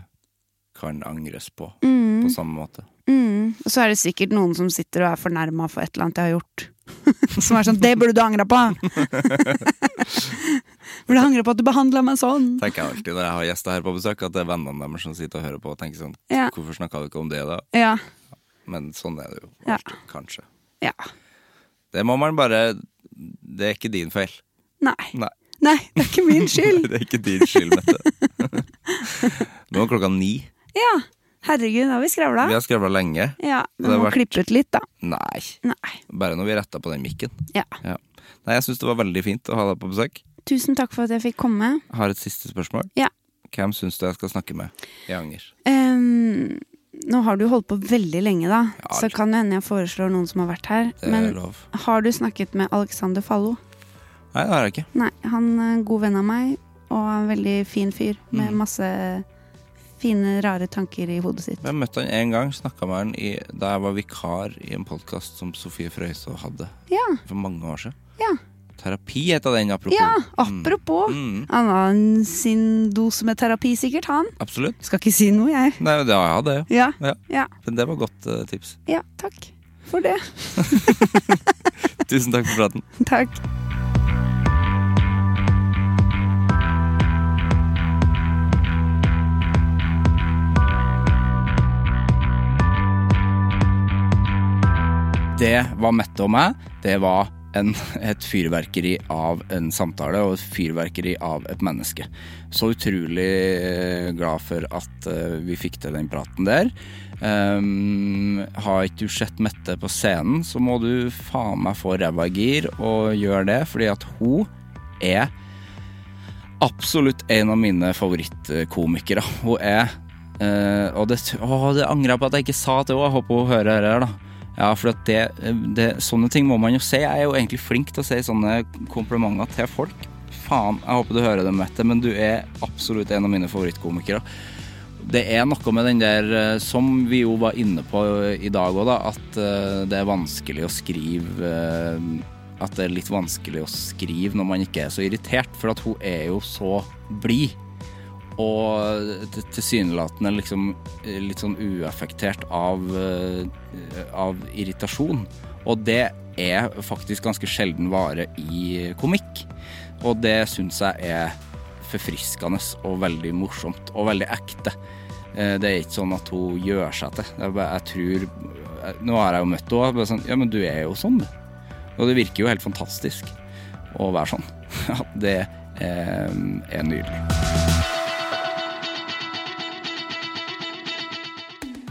kan angres på på samme måte. Mm. Og så er det sikkert noen som sitter og er fornærma for et eller annet jeg har gjort. som er sånn 'Det burde du angra på!' burde angre på at du behandla meg sånn. Tenker jeg alltid når jeg har gjester her på besøk, at det er vennene deres som sitter og hører på og tenker sånn Ja. Hvorfor snakka du ikke om det, da? Ja. Men sånn er det jo Ja. alltid, kanskje. ja. Det må man bare Det er ikke din feil. Nei. Nei. Nei, det er ikke min skyld. Det er ikke din skyld, dette. Nå er klokka ni. Ja. Herregud, nå har vi skravla. Vi har skravla lenge. Ja, Det vi har må vært- klippe ut litt, da. Nei. Nei. Bare når vi retta på den mikken. Ja. Ja. Nei, jeg syns det var veldig fint å ha deg på besøk. Tusen takk for at jeg fikk komme. Jeg Har et siste spørsmål. Ja. Hvem syns du jeg skal snakke med i Anger? Ehm, nå har du holdt på veldig lenge, da, Ja, så kan det hende jeg foreslår noen som har vært her. Det er Men lov. har du snakket med Alexander Fallo? Nei, det har jeg ikke. Mm. Nei, han er en god venn av meg, og en veldig fin fyr med masse fine, rare tanker i hodet sitt. Jeg møtte han én gang, snakka med han i, da jeg var vikar i en podkast som Sofie Frøysaa hadde Ja, for mange år siden. ja. Terapi het den, apropos. Ja, apropos. Mm, Han har en- sin dose med terapi, sikkert, han. absolutt. Skal ikke si noe, jeg. Nei, det har jeg hatt, det. jo. Ja, Ja. ja, Men det var godt eh, tips. ja. Takk for det. Tusen takk for praten. Takk. Det var Mette og meg. Det var en, et fyrverkeri av en samtale og et fyrverkeri av et menneske. Så utrolig eh, glad for at eh, vi fikk til den praten der. Um, har ikke du sett Mette på scenen, så må du faen meg få ræva i gir og gjøre det, fordi at hun er absolutt en av mine favorittkomikere. Hun er eh, Og det, å, det angrer jeg på at jeg ikke sa til henne. Jeg håper hun hører dette her, da. Ja, for at det, det, sånne ting må man jo si. Jeg er jo egentlig flink til å si sånne komplimenter til folk. Faen, jeg håper du hører det, Mette, men du er absolutt en av mine favorittkomikere. Det er noe med den der eh, som vi jo var inne på i dag òg, da, at eh, det er vanskelig å skrive eh, At det er litt vanskelig å skrive når man ikke er så irritert, for at hun er jo så blid. Og t- tilsynelatende liksom eh, litt sånn uaffektert av, eh, av irritasjon. Og det er faktisk ganske sjelden vare i komikk. Og det syns jeg er forfriskende og veldig morsomt og veldig ekte. Eh, Det er ikke sånn at hun gjør seg til. Det er bare, jeg tror eh, Nå har jeg jo møtt henne, og bare sånn Ja, men du er jo sånn, du. Og det virker jo helt fantastisk å være sånn. Ja, det eh, er nydelig.